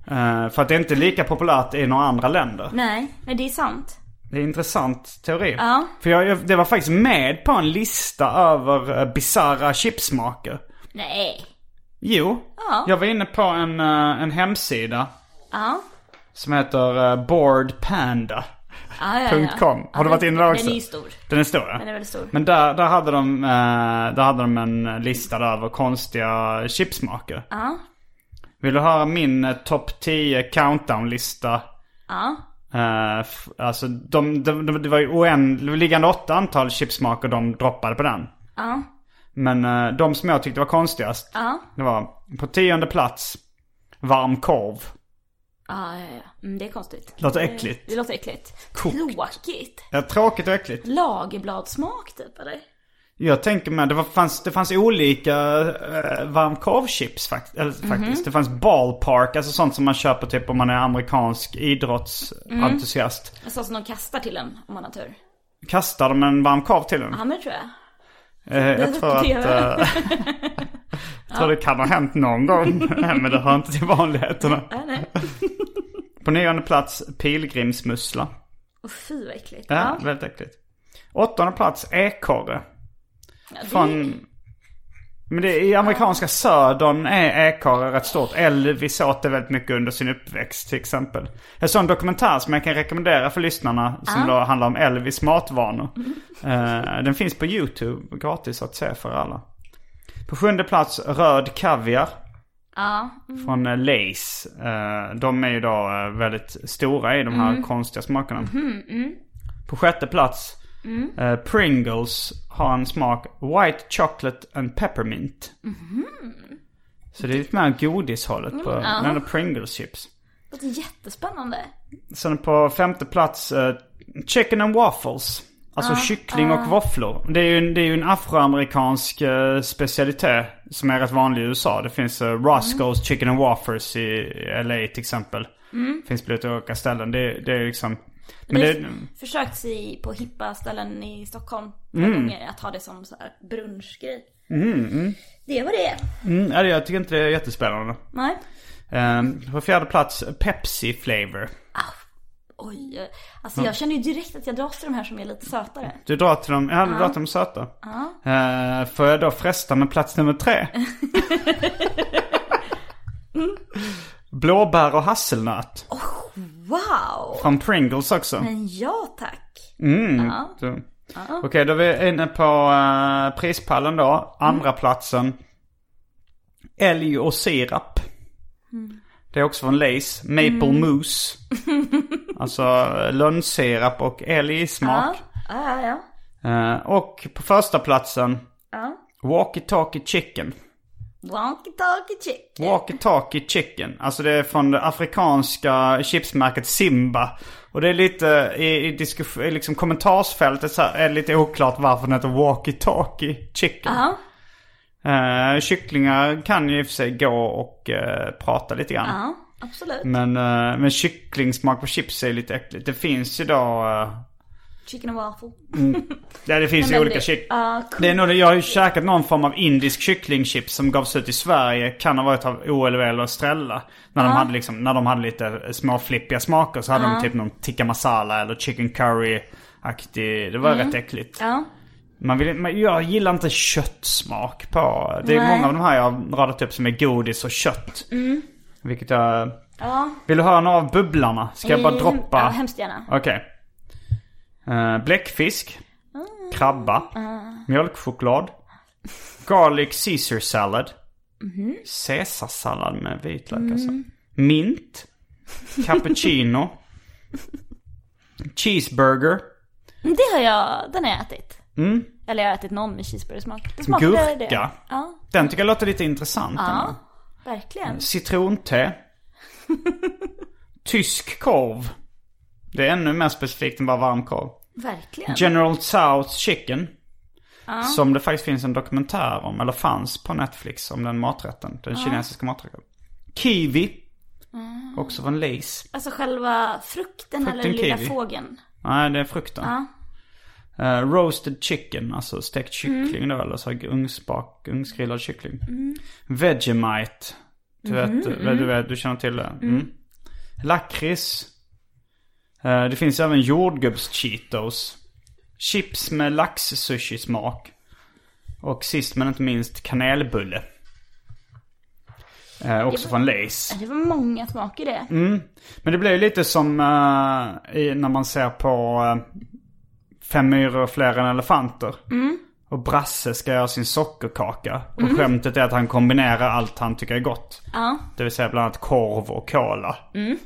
Eh, för att det är inte lika populärt i några andra länder. Nej, men det är sant. Det är en intressant teori. För jag, jag, det var faktiskt med på en lista över uh, bisarra chipsmaker. Nej. Jo, jag var inne på en, eh, en hemsida Ja. som heter uh, boardpanda.com. Ja, ja, ja. Har du varit inne där också? Den är ju stor. Den är stor ja. Den är väldigt stor. Men där, där, hade de, eh, där hade de en lista där över konstiga chipsmaker. Ja. Vill du höra min eh, topp 10 countdown-lista? Ja. Eh, f- alltså de, de, de, det var ju oändliggande åtta antal chipsmaker de droppade på den. Ja. Men eh, de som jag tyckte var konstigast. Ja. Det var på tionde plats varm korv. Ja, ja, ja. Mm, det är konstigt. Låter äckligt. Det låter äckligt. Kokt. Tråkigt. Ja, tråkigt och äckligt. Lagerbladssmak typ eller? Jag tänker mig, det var, fanns, det fanns olika eh, varm korvchips fakt, eller, Mhm. faktiskt. Det fanns ballpark, alltså sånt som man köper typ om man är amerikansk idrottsentusiast. Alltså som de kastar till en om man har tur. Kastar de en varm korv till en? Ja men det tror jag. Eh, jag det tror att... TV. eh, jag tror det kan ha hänt någon gång. Nej, men det hör inte till vanligheterna. Nej, nej. På nionde plats pilgrimsmussla. Och fy vad äckligt. Ja, väldigt äckligt. Åttonde plats ekorre. Ja, det- Från... Men det, i amerikanska södern är ekorre rätt stort. Elvis åt det väldigt mycket under sin uppväxt till exempel. Jag såg en dokumentär som jag kan rekommendera för lyssnarna Ah. som då handlar om Elvis matvanor. Eh, den finns på YouTube, gratis att se för alla. På sjunde plats röd kaviar Ja. mm. från eh, Lays. Eh, De är ju då eh, väldigt stora i de här Mm. konstiga smakerna. Mhm, På sjätte plats eh, Pringles har en smak White Chocolate and Peppermint. Så det är lite mer godishållet på mm. uh Pringles chips. Det låter jättespännande. Sen på femte plats eh, Chicken and Waffles. Alltså kyckling och våfflor. Det är ju en, det är ju en afroamerikansk eh, specialitet som är rätt vanlig i USA. Det finns eh, Roscoe's Chicken and Waffles i LA till exempel. Finns på lite olika ställen. Det, det är liksom... Men det det, har försökt sig på hippa ställen i Stockholm några Mm. gånger att ha det som så här brunchgrej. Det var det. mm, nej, jag tycker inte det är jättespännande. Nej. Eh, på fjärde plats Pepsi flavor. Oj, alltså jag känner ju direkt att jag dras till de här som är lite sötare. Du drar till dem, ja, du drar till dem söta. Eh, får jag då fresta med plats nummer tre? Blåbär och hasselnöt. Wow! Från Pringles också. Men ja tack. Så. Mm, Okej, då är vi inne på eh, prispallen då. Andra Mm. platsen. Älg och sirap. Mm. Det är också från Lays. Maple mousse. alltså eh, lönnsirap och älgsmak. Ja, ja, ja. Eh, och på första platsen, Ja. Walkie Talkie Chicken. Wonky talky chick. Walkie Talkie Chicken. Alltså det är från det afrikanska chipsmärket Simba. Och det är lite i, i, diskus- i liksom kommentarsfältet så här, är det lite oklart varför den heter Walkie Talkie Chicken. Ja. Eh, kycklingar kan ju i och för sig gå och eh, prata lite grann. Ja, absolut. Men, eh, men kycklingsmak på chips är lite äckligt. Det finns ju då... eh, Chicken and waffle. ja, det finns ju Nej, men olika det- kyck... ja, cool. Det är nog, jag har ju käkat någon form av indisk kycklingchips som gavs ut i Sverige. Kan ha varit av OLV eller Estrella. När, de hade liksom, när de hade lite små flippiga smaker så hade de typ någon tikka masala eller chicken curry-aktig. Det var rätt äckligt. Mm. Ja. Man vill, men jag gillar inte köttsmak på... Det är Nej. Mm. många av de här jag har radat upp som är godis och kött. Vilket jag... Ja. Vill du höra några av bubblarna? Ska jag bara Eh, droppa? Ja, hemskt gärna. Okej. Eh, bläckfisk. Krabba. Mjölkchoklad. Garlic Caesar salad. Caesarsallad med vitlök alltså. Mint. Cappuccino. cheeseburger. Men Det har jag, den har jag ätit. Eller jag har ätit någon med cheeseburgersmak. Det smakade det. Mm. Gurka. Ja, Den tycker jag låter lite intressant. ändå. verkligen. Citronte. Tysk korv. Det är ännu mer specifikt än bara varm korv. Verkligen. General Tso's Chicken. Som det faktiskt finns en dokumentär om, eller fanns på Netflix om den maträtten. Den kinesiska maträtten. Kiwi. Också från Lays. Alltså själva frukten, eller den Frukten lilla kiwi. fågeln. Nej, det är frukten. Eh, roasted chicken, alltså stekt kyckling då, eller så här ugnsbak, ugnsgrillad kyckling. Vegemite. Du vet, du, vet, du känner till det. Mm. Lakrits. Eh, det finns även jordgubbs-cheetos. Chips med lax-sushi-smak. Och sist men inte minst kanelbulle. Eh, också från Lays. Det var många smaker det. Mm, Men det blir ju lite som eh, i, när man ser på eh, Fem myror och fler än elefanter. Mm. Och Brasse ska göra sin sockerkaka. Och skämtet är att han kombinerar allt han tycker är gott. Det vill säga bland annat korv och cola. att det är Mm.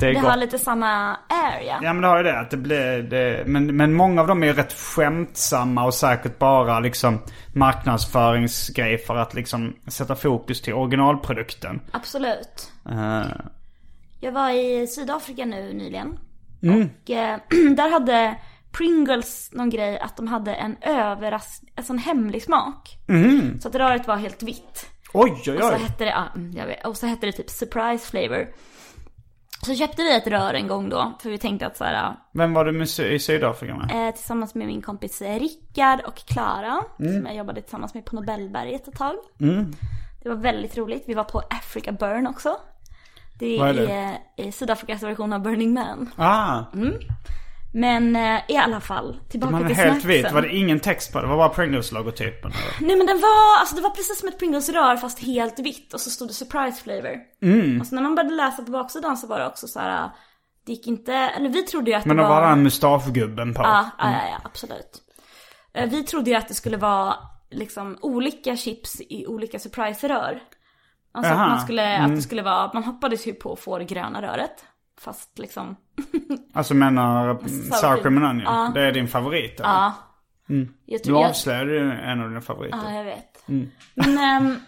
Det gott. har lite samma area. Ja men det har ju det. Att det blir, det, men, men många av dem är ju rätt skämtsamma och säkert bara liksom marknadsföringsgrej för att liksom sätta fokus till originalprodukten. Absolut. Eh, Jag var i Sydafrika nu nyligen. Mm. Och eh, där hade Pringles någon grej att de hade en överraskning, alltså en hemlig smak. Mm. Så att röret var helt vitt. oj oj Och så oj. hette det, ja, mm, jag vet, och så hette det typ surprise flavor. Så köpte vi ett rör en gång då, för vi tänkte att så här, Vem var du med Sy- i Sydafrika med? eh, tillsammans med min kompis eh, Rickard och Klara, Mm. som jag jobbade tillsammans med på Nobelberget ett tag. Det var väldigt roligt, vi var på Africa Burn också. Det Vad är, är det? eh, Sydafrikas version av Burning Man. Ah, Men eh, i alla fall, tillbaka man är till helt snacksen. vit. Var det ingen text på det? Det var bara Pringles-logotypen? eller? Nej men den var, alltså det var precis som ett Pringles-rör fast helt vitt och så stod det surprise flavor. Mm. Och så när man började läsa på baksidan så var det också så här. äh, det gick inte, eller vi trodde ju att Men det då var Mm. det den mustaschgubben på. Ja, ja, ja, ja, absolut. Eh, Vi trodde ju att det skulle vara liksom olika chips i olika surprise-rör. Alltså att, Jaha, man skulle, att Mm. det skulle vara, man hoppades ju på att få det gröna röret. Fast liksom, Alltså menar mm, sour cream and onion. Ja. Det är din favorit eller? ja. Jag Du tror jag, avslöjade Mm. ju en av dina favoriter. ja, jag vet. Men, ehm,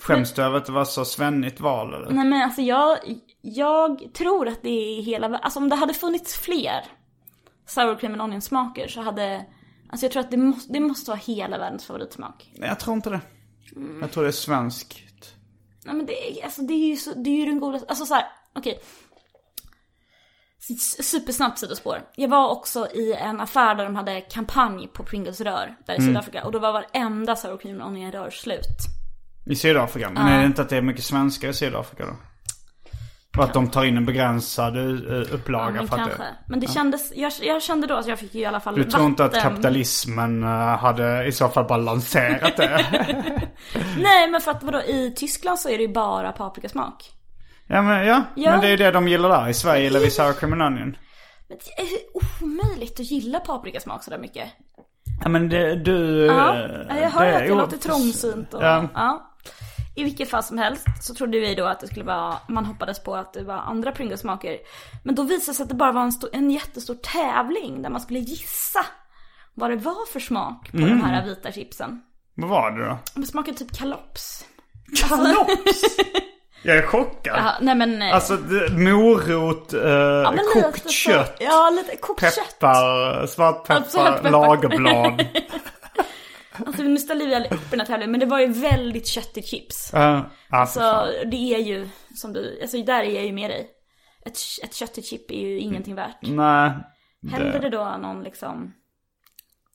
Skäms du över att det var så svennigt val eller? Nej men alltså jag, jag tror att det är hela vä- Alltså om det hade funnits fler sour cream and onion smaker så hade Alltså jag tror att det måste, det måste vara hela världens favoritsmak. Nej, jag tror inte det. Mm. Jag tror det är svenskt. Nej men det, är- alltså det är ju så, det är ju den godaste, alltså såhär, okej. S- Supersnabbt sidospår. Jag var också i en affär där de hade kampanj på Pringles rör där i Mm. Sydafrika och då var varenda sour cream and onion rör slut. I Sydafrika. Men är det inte att det är mycket svenskar i Sydafrika då? Och att de tar in en begränsad eh, upplaga men för att kanske. det... Men det kändes, jag, jag kände då att jag fick ju i alla fall Du tror inte att vatten. kapitalismen eh, hade i så fall bara lanserat det? Nej men för att vadå, i Tyskland så är det ju bara paprikasmak. Ja men, ja. Ja. men det är ju det de gillar där. I Sverige gillar vi sour cream and onion. Men det är ju omöjligt att gilla paprikasmak sådär mycket. Ja men det, du... Ja, eh, jag hör det- att jag jo, låter trångsynt och, Ja. ja. I vilket fall som helst så trodde vi då att det skulle vara, man hoppades på att det var andra pringosmaker. Men då visade det sig att det bara var en, stor, en jättestor tävling där man skulle gissa vad det var för smak på de Mm. här vita chipsen. Vad var det då? De smakade typ kalops. Kalops! Jag är chockad. Ja, nej men... eh, Alltså det- morot, eh, ja, men lite kokt så- kött, Ja, lite kokt kött. Alltså, peppar, svartpeppar, Svartpeppar. lagerblad. Alltså nu ställer vi upp den här tävlingen, men det var ju väldigt köttigt chips. Eh, alltså, Så det är ju, som du, alltså där är jag ju med dig. Ett, ett köttigt chip är ju ingenting värt. nej. Händer Mm. det då någon liksom,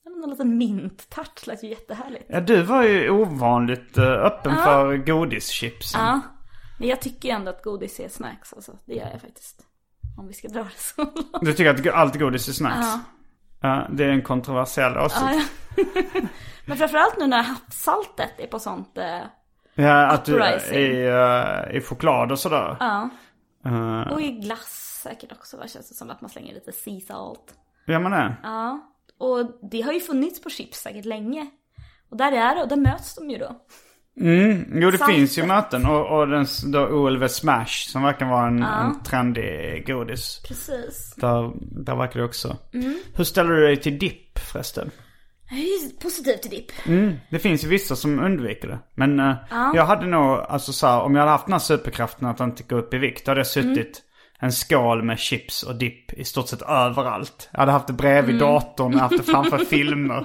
jag vet inte, någon liten minttart lät ju jättehärligt. Ja, du var ju ovanligt eh, öppen Ja. för godischips. Ja, men jag tycker ju ändå att godis är snacks alltså. Det gör jag faktiskt. Om vi ska dra det så långt. Du tycker att go- allt godis är snacks? Ja, det är en kontroversiell åsikt. Ja, ja. Men framförallt nu när havssaltet är på sånt, eh, Ja, att du Uprising. i, eh, i choklad och sådär. ja. Och i glass säkert också, vad känns det som att man slänger lite sea salt. Gör man det? Ja, och det har ju funnits på chips säkert länge. Och där är det, och där möts de ju då. Jo, det Saltet. finns ju möten. Och, och den s- då OLV Smash som verkar vara en, en trendig godis. Precis. Mm. Där, där verkar det också. Hur ställer du dig till dipp förresten? Jag är ju positiv till dipp. Det finns ju vissa som undviker det. Men eh, jag hade nog, alltså så här, om jag hade haft den här superkraften att inte gå upp i vikt, då hade jag suttit en skål med chips och dipp i stort sett överallt. Jag hade haft det bredvid datorn, jag hade haft det framför filmer.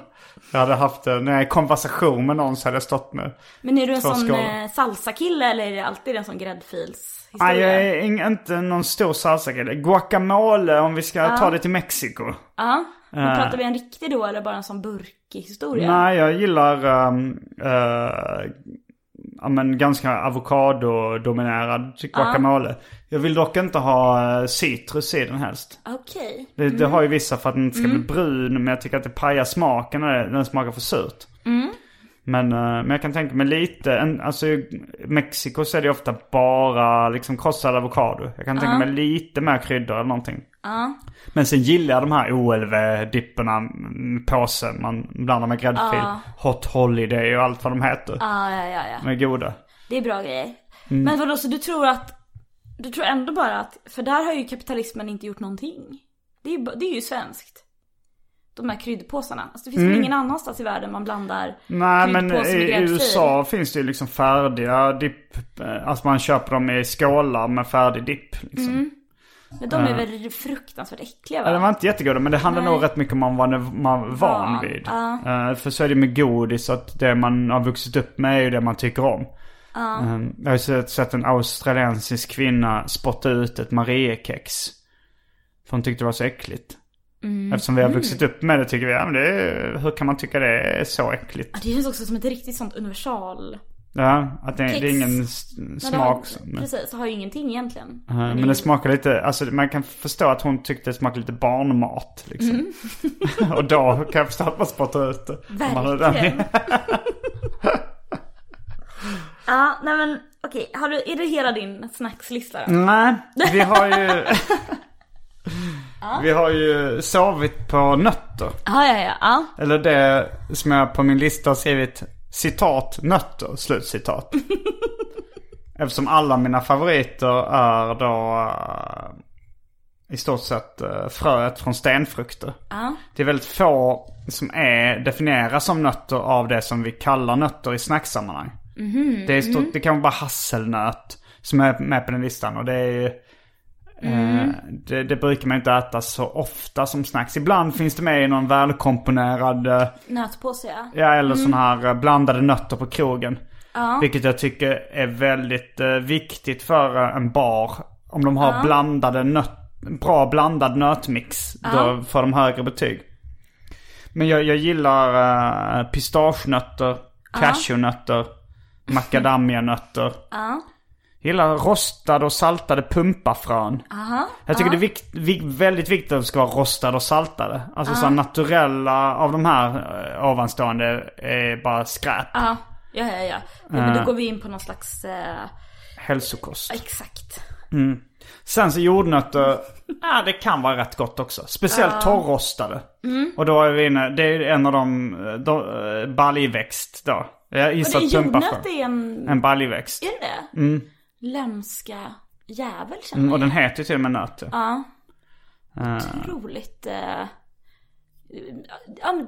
Jag hade haft det, när jag är i konversation med någon så hade jag stått med. Men är du en Två sån skalor. eh, salsakille eller är det alltid en sån gräddfils Nej, jag är ing- inte någon stor salsakille. Guacamole om vi ska ta det till Mexiko. Ja. Men pratar vi en riktig då eller bara en sån burkig historia? Nej, jag gillar um, eh, ja, men ganska avokadodominerad typ guacamole. Jag vill dock inte ha eh, citrus i den helst. Okej. Det, det har ju vissa för att den inte ska Mm. bli brun, men jag tycker att det pajar smaken när det- den smakar för surt. Mm. Men, eh, men jag kan tänka mig lite, en, alltså i Mexiko så är det ju ofta bara liksom krossad avokado. Jag kan tänka mig lite mer kryddor eller någonting. Men sen gillar jag de här OLV-dipperna, mm, påsen man blandar med gräddfil. Hot Holiday och allt vad de heter. Ah, Ja, ja, ja, ja. De är goda. Det är bra grejer. Mm. Men vadå, så du tror att, du tror ändå bara att, för där har ju kapitalismen inte gjort någonting. Det är, ju ba- det är ju svenskt. De här kryddpåsarna. Alltså det finns väl ingen annanstans i världen man blandar Mm. Nej men kryddpåse med i gräddfil? USA finns det ju liksom färdiga dipp. eh, Alltså man köper dem i skålar med färdig dipp. Liksom. Men de är väl fruktansvärt äckliga va? Ja, de var inte jättegoda men det handlar Nej. nog rätt mycket om vad man var- man var van Van, vid. ja. Eh, för så är det med godis att det man har vuxit upp med är ju det man tycker om. Eh, jag har ju sett, sett en australiensisk kvinna spotta ut ett Mariekex. För hon tyckte det var så äckligt. Mm. Eftersom vi har vuxit upp med det tycker vi, ja, men det, är- hur kan man tycka det är så äckligt? Det känns också som ett riktigt sånt universal. Ja, att det, det är Kex. ingen s- Men smak. det som- har, precis, har ju ingenting egentligen. Eh, Men det smakar lite, alltså man kan förstå att hon tyckte det smakade lite barnmat liksom. och då kan jag förstå att man spottar ut det. Om man har den- Verkligen. Ja, nej men okej. Har du, är det hela din snackslista då? Nej, vi har ju... vi har ju sovit på nötter. Ja, ja, ja. ja. Eller det som jag på min lista har skrivit citat nötter, slutcitat. Eftersom alla mina favoriter är då eh, i stort sett eh, fröet från stenfrukter. Det är väldigt få som är, definieras som nötter av det som vi kallar nötter i snacksammanhang. Det, är i stort, det kan vara bara hasselnöt som är med på den listan. Och det är ju Eh, Det, det brukar man inte äta så ofta som snacks. Ibland finns det med i någon välkomponerad, eh, Nötpåse ja. ja eller sån här eh, blandade nötter på krogen. Vilket jag tycker är väldigt eh, viktigt för eh, en bar. Om de har blandade nöt, bra blandad nötmix, då får de högre betyg. Men jag, jag gillar eh, pistagenötter, cashewnötter, macadamianötter. Gillar rostade och saltade pumpafrön. Jag tycker det är vikt, vi- väldigt viktigt att de ska vara rostade och saltade. Alltså så här naturella av de här eh, ovanstående är bara skräp. Ja, ja, ja. ja. Nej, Eh. men då går vi in på någon slags, eh, Hälsokost. exakt. Sen så jordnötter, ja det kan vara rätt gott också. Speciellt torrrostade. Mm. Och då är vi inne, det är en av de, de eh, baljväxt då. Jag Och gissar det är att pumpafrön. jordnöt är en, En baljväxt. är det det? Mm. Lömska jävel Mm, känner Och jag. den heter ju till och med nöt. Otroligt eh, ja, men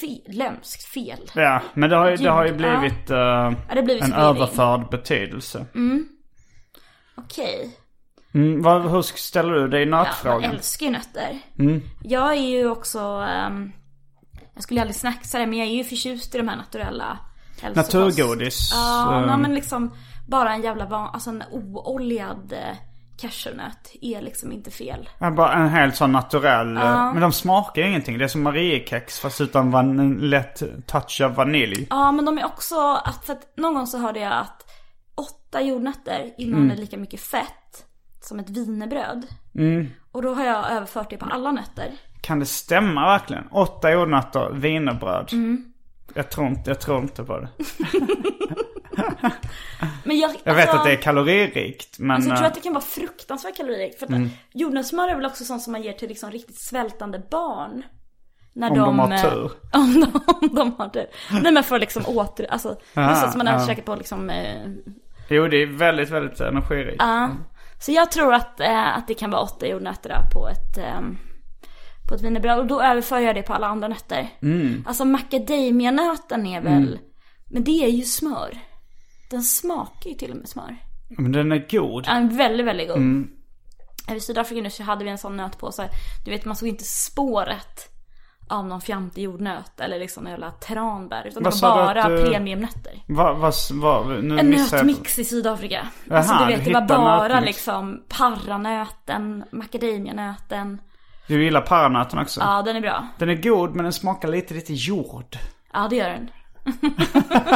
fe, lömskt, fel. Ja, men det har ju, det har ju Ljud, blivit, eh, Ja, det blir en förvirring. överförd betydelse. Mm. Okej. Mm, vad, hur ställer du dig i Ja, man nötfrågan? älskar ju nötter. Mm. Jag är ju också, ehm, jag skulle aldrig snacksa det men jag är ju förtjust i de här naturella hälsokost. Naturgodis. Ja, nej, Ehm. men liksom bara en jävla van, alltså en ooljad eh, cashewnöt är liksom inte fel. Ja, bara en helt sån naturell. eh, Men de smakar ju ingenting. Det är som Mariekex fast utan van- en lätt touch av vanilj. Ja men de är också, att, för att någon gång så hörde jag att åtta jordnötter innehåller Mm. lika mycket fett som ett wienerbröd. Mm. Och då har jag överfört det på alla nötter. Kan det stämma verkligen? Åtta jordnötter, wienerbröd. Mm. Jag, tror inte, jag tror inte på det. Men jag, Jag vet alltså- att det är kaloririkt men... Alltså jag tror eh, att det kan vara fruktansvärt kaloririkt. För att Mm. jordnötssmör är väl också sånt som man ger till liksom riktigt svältande barn. När Om de har eh, tur. Om de, om de har tur. Nej men för liksom åter, alltså något sånt som man hade ja. käkat på liksom. Eh, Jo det är väldigt, väldigt energirikt. ja. Så jag tror att, eh, att det kan vara åtta jordnötter där på ett, ehm, på ett wienerbröd. Och då överför jag det på alla andra nötter. Mm. Alltså macadamianöten är väl, men det är ju smör. Den smakar ju till och med smör. Men den är god. Ja, väldigt, väldigt god. Mm. I Sydafrika nu så hade vi en sån nötpåse. Du vet, man såg inte spåret av någon fjantig jordnöt eller liksom någon jävla tranbär. Utan Vad det sa du var bara att eh, du- premiumnötter. Vad, vad, vad, nu En Mm, missar jag- nötmix i Sydafrika. Jaha, alltså du du vet, det var hittar bara nötmix. liksom parranöten, macadamianöten. Du gillar paranöten också? Ja, den är bra. Den är god men den smakar lite, lite jord. Ja, det gör den.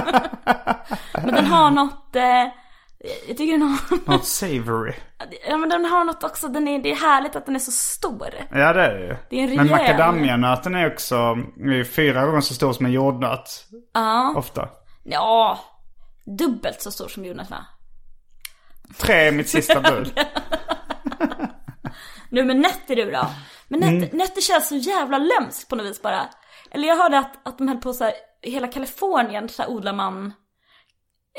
men den har något... Eh, jag tycker den har... Något savory. ja, men den har något också. Den är, det är härligt att den är så stor. Ja det är det ju. Det är en men rejäl- macadamianöten är också är fyra gånger så stor som en jordnöt. Ofta. Ja, dubbelt så stor som jordnötterna. Tre är mitt sista bud. Nu men nötter du då? Men nötter, Mm. nötter känns så jävla lömskt på något vis bara. Eller jag hörde att, att de höll på så här, i hela Kalifornien så här odlar man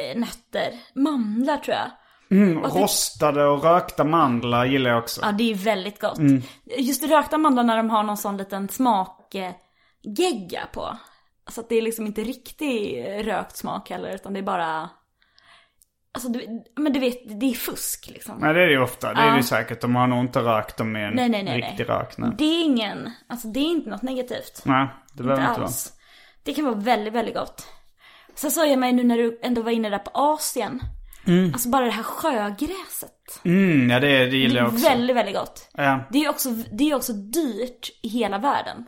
eh, nötter. Mandlar tror jag. Mm, Rostade och rökta mandlar gillar jag också. Ja, det är väldigt gott. Mm. Just rökta mandlar när de har någon sån liten smakgegga på. Så att det är liksom inte riktig eh, rökt smak heller, utan det är bara... Alltså, du, men du vet, det är fusk liksom. Nej det är det ju ofta. Det är det ju säkert. De har nog inte rökt dem i en Nej, nej, nej, riktig nej. rök. Nej. Det är ingen, alltså det är inte något negativt. nej, det behöver inte inte vara. alls. Det kan vara väldigt, väldigt gott. Sen sa jag mig nu när du ändå var inne där på Asien. Alltså bara det här sjögräset. Mm, ja det, det gillar det jag är också. väldigt, väldigt gott. Ja. Det är ju också, det är ju också dyrt i hela världen.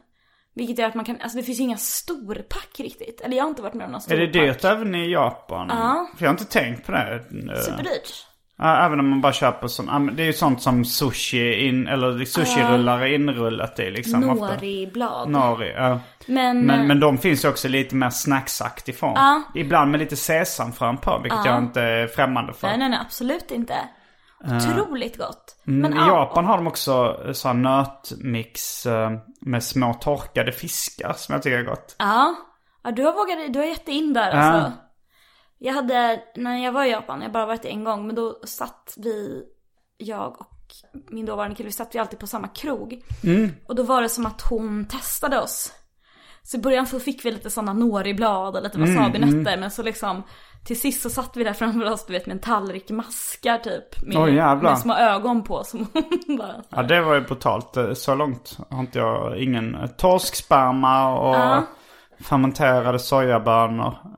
Vilket gör att man kan, alltså det finns ju inga storpack riktigt. Eller jag har inte varit med om någon Är storpack. det dyrt även i Japan? Ja. För jag har inte tänkt på det. Superdyrt. Ja, Även om man bara köper sån, ja, men det är ju sånt som sushi in, eller sushirullar är inrullat i liksom ofta. Nori-blad. Nori, ja. Men, Men, men de finns ju också lite mer snacksaktig form. Ja. Ibland med lite sesamfrön på, vilket jag inte är främmande för. nej, nej, nej, absolut inte. Otroligt gott. Eh. Mm, Men men I ja, Japan har de också eh, så här nötmix eh, med små torkade fiskar som jag tycker är gott. Ja, ja du har vågat, du har gett dig in där alltså. Jag hade, när jag var i Japan, jag har bara varit det en gång, men då satt vi, jag och min dåvarande kille, vi satt vi alltid på samma krog. Och då var det som att hon testade oss. Så i början så fick vi lite sådana nori-blad och lite wasabinötter, men så liksom till sist så satt vi där framför oss du vet med en tallrik maskar typ. Med, Oj, jävlar. med små ögon på som hon bara. Ja, det var ju brutalt. Eh, Så långt har inte jag ingen eh, torsksperma och fermenterade sojabönor. eh,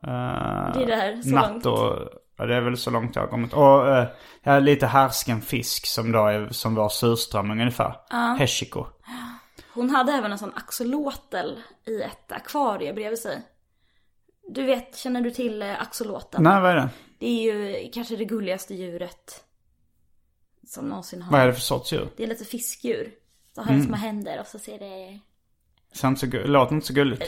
Det är det här, så natt och, ja, det är väl så långt jag har kommit. Och eh, ja, lite härsken fisk som då är som vår surströmming ungefär. Heshiko. Hon hade även en sån axolotl i ett akvarie bredvid sig. Du vet, känner du till eh, axoloten? Nej, vad är det? Det är ju kanske det gulligaste djuret som någonsin har. Vad är det för sorts djur? Det är lite fiskdjur. Så har Mm. det små händer och så ser det... Ser inte så gu- låter inte så gulligt.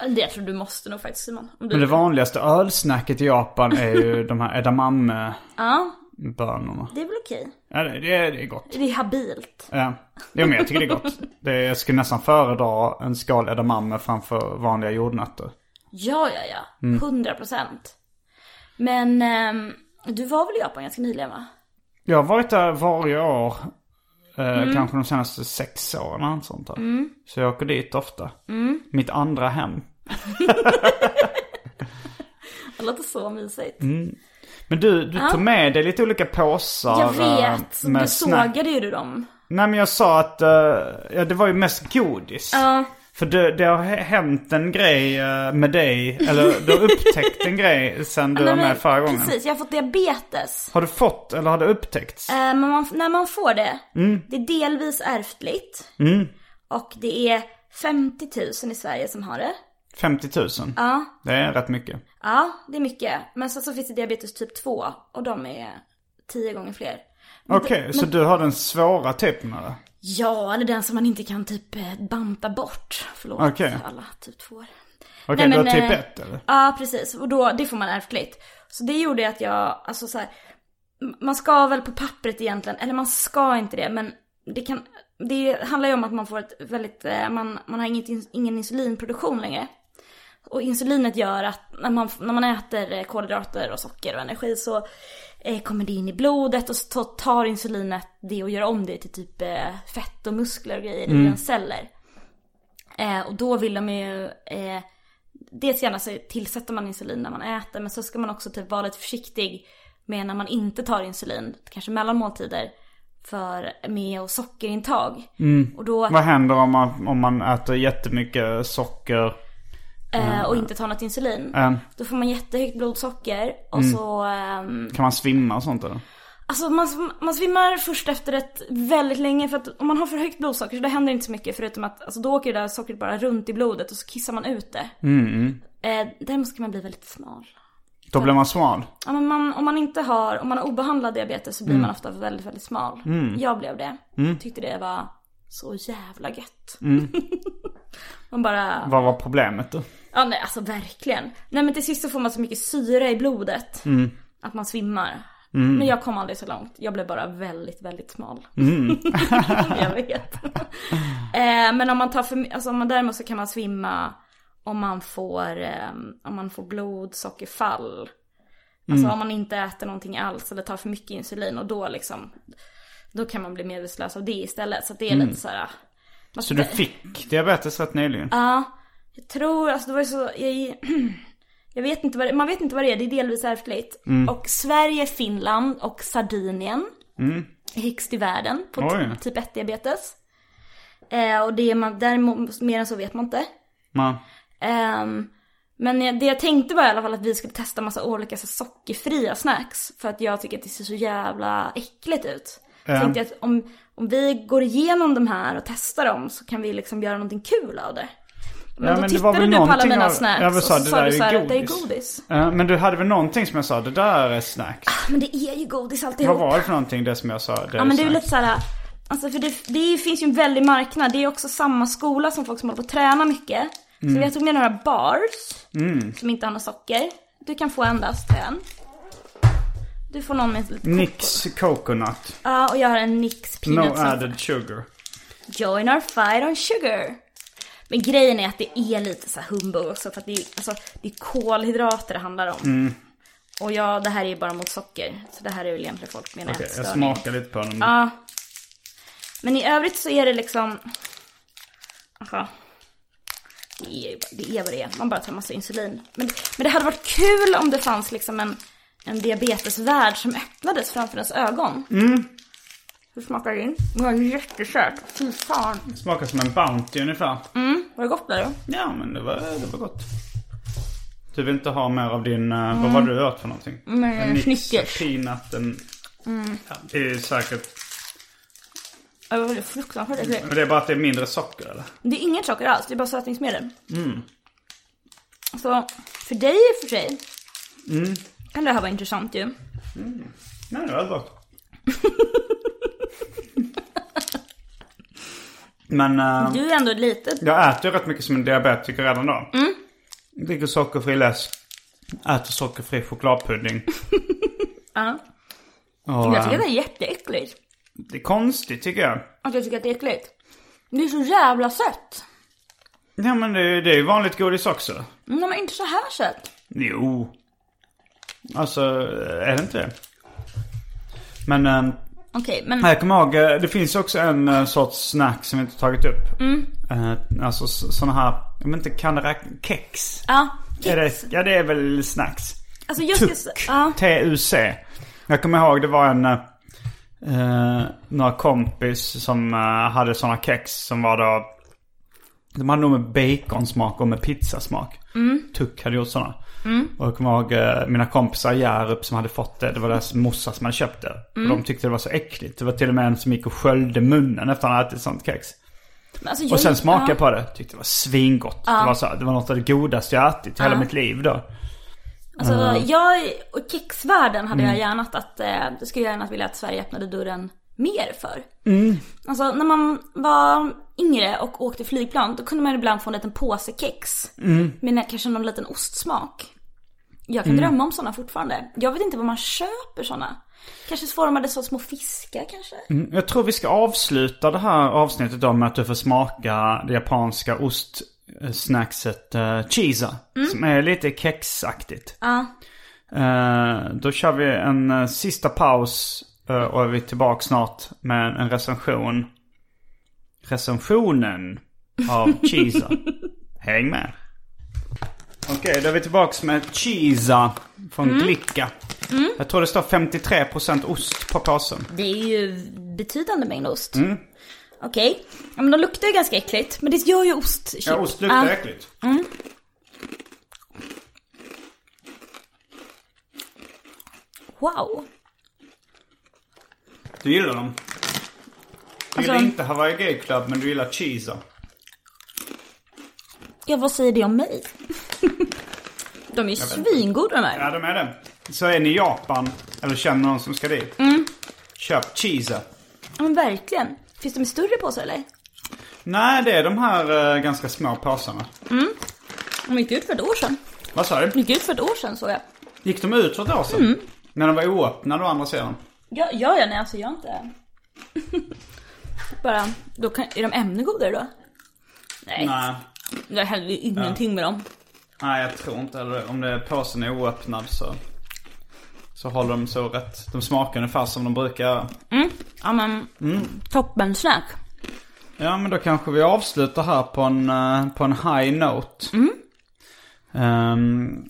Det jag tror du måste nog faktiskt Simon. Om du... Men det vanligaste ölsnacket i Japan är ju de här edamame-bönorna. Ja, det är väl okej. Ja, det, det, är- det är gott. Det är habilt. Ja. Jo, men jag tycker det är gott. Det, är- jag skulle nästan föredra en skal edamame framför vanliga jordnötter. Ja, ja, ja. Mm. Hundra procent. Men ehm, du var väl i Japan ganska nyligen va? Jag har varit där varje år Eh, Mm. Kanske de senaste sex åren eller något sånt där. Så jag åker dit ofta. Mm. Mitt andra hem. Det låter så mysigt. Mm. Men du, du tog med dig lite olika påsar. jag eh, vet, du snack- sågade ju dem. Nej men jag sa att eh, ja, det var ju mest godis. För det, det har hä- hänt en grej eh, med dig, eller du har upptäckt en grej sen du var Nej, men med förra gången. Precis, jag har fått diabetes. Har du fått eller har det upptäckts? Eh, Men man, när man får det, Mm. det är delvis ärftligt. Och det är 50 000 i Sverige som har det. 50 000? Ja. Det är rätt mycket. Ja, det är mycket. Men sen så finns det diabetes typ 2 och de är 10 gånger fler. Men Okej, det- så men- du har den svåra typen av det? Ja, eller den som man inte kan typ eh, banta bort. Förlåt Okej. alla typ 2 Okej, Nej, du har men, typ eh, 1 eller? Ja, precis. Och då, det får man ärftligt. Så det gjorde att jag, alltså så här, m- man ska väl på pappret egentligen, eller man ska inte det, men det kan, det handlar ju om att man får ett väldigt, eh, man, man har inget, ins- ingen insulinproduktion längre. Och insulinet gör att när man, när man äter eh, kolhydrater och socker och energi så eh, kommer det in i blodet och så tar insulinet det och gör om det till typ eh, fett och muskler och grejer Mm. i ens celler. Eh, och då vill de ju, eh, dels gärna så tillsätter man insulin när man äter men så ska man också typ vara lite försiktig med när man inte tar insulin, kanske mellan måltider, för med och sockerintag. Och då, Vad händer om man, om man äter jättemycket socker? eh, och inte tar något insulin. Då får man jättehögt blodsocker och så ehm, Kan man svimma och sånt eller? Alltså man, man svimmar först efter ett väldigt länge för att om man har för högt blodsocker så det händer inte så mycket förutom att alltså, då åker det där sockret bara runt i blodet och så kissar man ut det. Mm. Eh, däremot ska man bli väldigt smal. Då blir man smal. Ja, men man, om man inte har, om man har obehandlad diabetes så blir man ofta väldigt, väldigt smal. Jag blev det. Tyckte det var så jävla gött. man bara, Vad var problemet då? ja nej alltså verkligen. Nej men till sist så får man så mycket syre i blodet. Mm. Att man svimmar. Men jag kom aldrig så långt. Jag blev bara väldigt, väldigt smal. Mm. jag vet. eh, men om man tar för alltså om man däremot så kan man svimma om man får, eh, om man får blodsockerfall. Alltså Mm. om man inte äter någonting alls eller tar för mycket insulin och då liksom, då kan man bli medvetslös av det istället. Så att det är lite så här. man Mm. Så ska- du fick diabetes rätt nyligen? jag tror, alltså det var ju så, jag, jag vet inte vad det, man vet inte vad det är, det är delvis ärftligt. Och Sverige, Finland och Sardinien är högst i världen på Oj. ty- typ 1 diabetes. Eh, och det är man, däremot, mer än så vet man inte. Man, Ehm, men jag- det jag tänkte var i alla fall att vi skulle testa massa olika så här, sockerfria snacks. För att jag tycker att det ser så jävla äckligt ut. Så Ehm. tänkte jag att om, om vi går igenom de här och testar dem så kan vi liksom göra någonting kul av det. Men Ja, då men det var tittade väl du på alla någonting mina av- snacks jag väl och sa, så det sa där du är så här att det är godis. godis. Eh, Men du hade väl någonting som jag sa, det där är snacks. Men Ah, det är ju godis alltihop. Vad var det för någonting det som jag sa? Det Ja men det är ju snacks? lite såhär, alltså för det, det finns ju en väldig marknad. Det är också samma skola som folk som håller på att träna mycket. Mm. Så jag tog med några bars, som inte har något socker. Du kan få endast en. Du får någon med lite Nix coconut. Ja, och jag har en Nix No peanut som- added sugar. Join our fight on sugar. Men grejen är att det är lite så här humbug också för att det är, alltså, det är kolhydrater det handlar om. Mm. Och ja, det här är ju bara mot socker. Så det här är väl egentligen folk med en Okej, jag ätstörning. smakar lite på den. Ja. Men i övrigt så är det liksom... Aha. Det är, ju bara- det är vad det är. Man bara tar massa insulin. Men, men det hade varit kul om det fanns liksom en, en diabetesvärld som öppnades framför ens ögon. Hur smakar din? Det var jättesött. Fy fan. Smakar som en Bounty ungefär. Var det gott där då? Ja men det var, det var gott. Du vill inte ha mer av din, eh, vad var det du åt för någonting? Mm, En Nix Snickers. Mm. Peanut, en... Ja, det är säkert. Ja, Det var fruktansvärt äckligt. Men det är bara att det är mindre socker eller? Det är inget socker alls, det är bara sötningsmedel. Så för dig i och för sig kan det här vara intressant ju. Nej det var gott. men eh, Du är ändå ett litet jag äter ju rätt mycket som en diabetiker redan då. Mm. Dricker sockerfri läsk. Äter sockerfri chokladpudding. Och, Jag tycker eh, det är jätteäckligt. det är konstigt tycker jag. Att jag tycker att det är äckligt. Det är så jävla sött. Ja men det, är- det är ju vanligt godis också. Nej men inte så här sött. Jo. Alltså, är det inte det? Men, eh, Okej, men Nej, jag kommer ihåg, eh, det finns också en eh, sorts snack som vi inte tagit upp. Mm. Eh, alltså sådana här, jag vet inte, kan det räkna, kex? ja. Är Kex. det, ja, det är väl snacks. Alltså jag ska... Tuck. s- Ja. T-U-C. Jag kommer ihåg det var en... eh, några kompis som eh, hade sådana kex som var då... De hade nog med baconsmak och med pizzasmak. Tuck hade gjort sådana. Och jag kommer ihåg eh, mina kompisar i Hjärup som hade fått det. Det var deras morsa som hade köpt det. Och de tyckte det var så äckligt. Det var till och med en som gick och sköljde munnen efter att han ätit sånt kex. Men alltså, jag, Och sen smakade jag ja. på det. Tyckte det var svingott. Det, var så, här- det var något av det godaste jag ätit i hela mitt liv då. Alltså jag och kexvärlden hade Mm. jag gärna att, eh, det skulle jag gärna vilja att Sverige öppnade dörren mer för. Mm. Alltså när man var yngre och åkte flygplan då kunde man ibland få en liten påse kex. Mm. Med nä- kanske någon liten ostsmak. Jag kan drömma om sådana fortfarande. Jag vet inte var man köper sådana. Kanske formade så små fiskar kanske? Jag tror vi ska avsluta det här avsnittet då med att du får smaka det japanska ostsnackset uh, cheesa. Som är lite kexaktigt. Eh, då kör vi en eh, sista paus eh, och är vi tillbaka snart med en recension. Recensionen av cheesa. Häng med. Okej, då är vi tillbaka med cheesa från Glicka. Jag tror det står 53% ost på påsen. Det är ju betydande mängd ost. Mm. Okej. Ja, men de luktar ju ganska äckligt. Men det gör ju Ah, ostchip. Ja, ost luktar Ja. äckligt. Wow. Du gillar dem. Du gillar Alltså- inte Hawaii Gay Club, men du gillar cheesa. Ja, vad säger det om mig? de är ju svingoda de Ja, här. de är det. Så är ni i Japan, eller känner någon som ska dit. Mm. Köp cheesa. Ja, men verkligen. Finns de i större påsar eller? Nej, det är de här eh, ganska små påsarna. De gick ut för ett år sedan. Vad sa De du? gick ut för ett år sedan såg jag. Gick de ut för ett år sedan? Mm. Men de var oöppnade å andra sidan. Ja, ja, ja nej alltså jag har inte... Bara, då kan, är de ännu godare då? Nej, Nej. jag hällde ju ingenting med dem. Nej, jag tror inte heller Om det, påsen är oöppnad så, så håller de så rätt. De smakar ungefär som de brukar göra. Ja men, Mm. toppen snack. Ja men då kanske vi avslutar här på en, eh, på en high note. Ehm,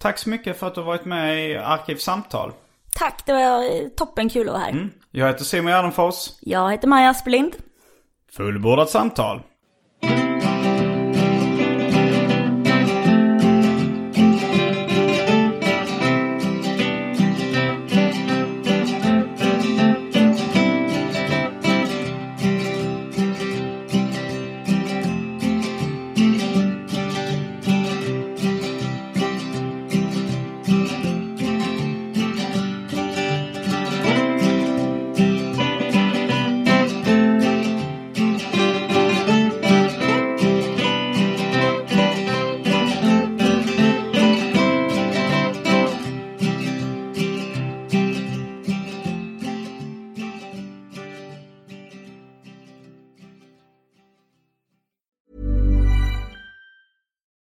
tack så mycket för att du har varit med i Arkivsamtal. Tack, det var eh, toppen kul att vara här. Jag heter Simon Gärdenfors. Jag heter Maja Aspelind. Fullbordat samtal.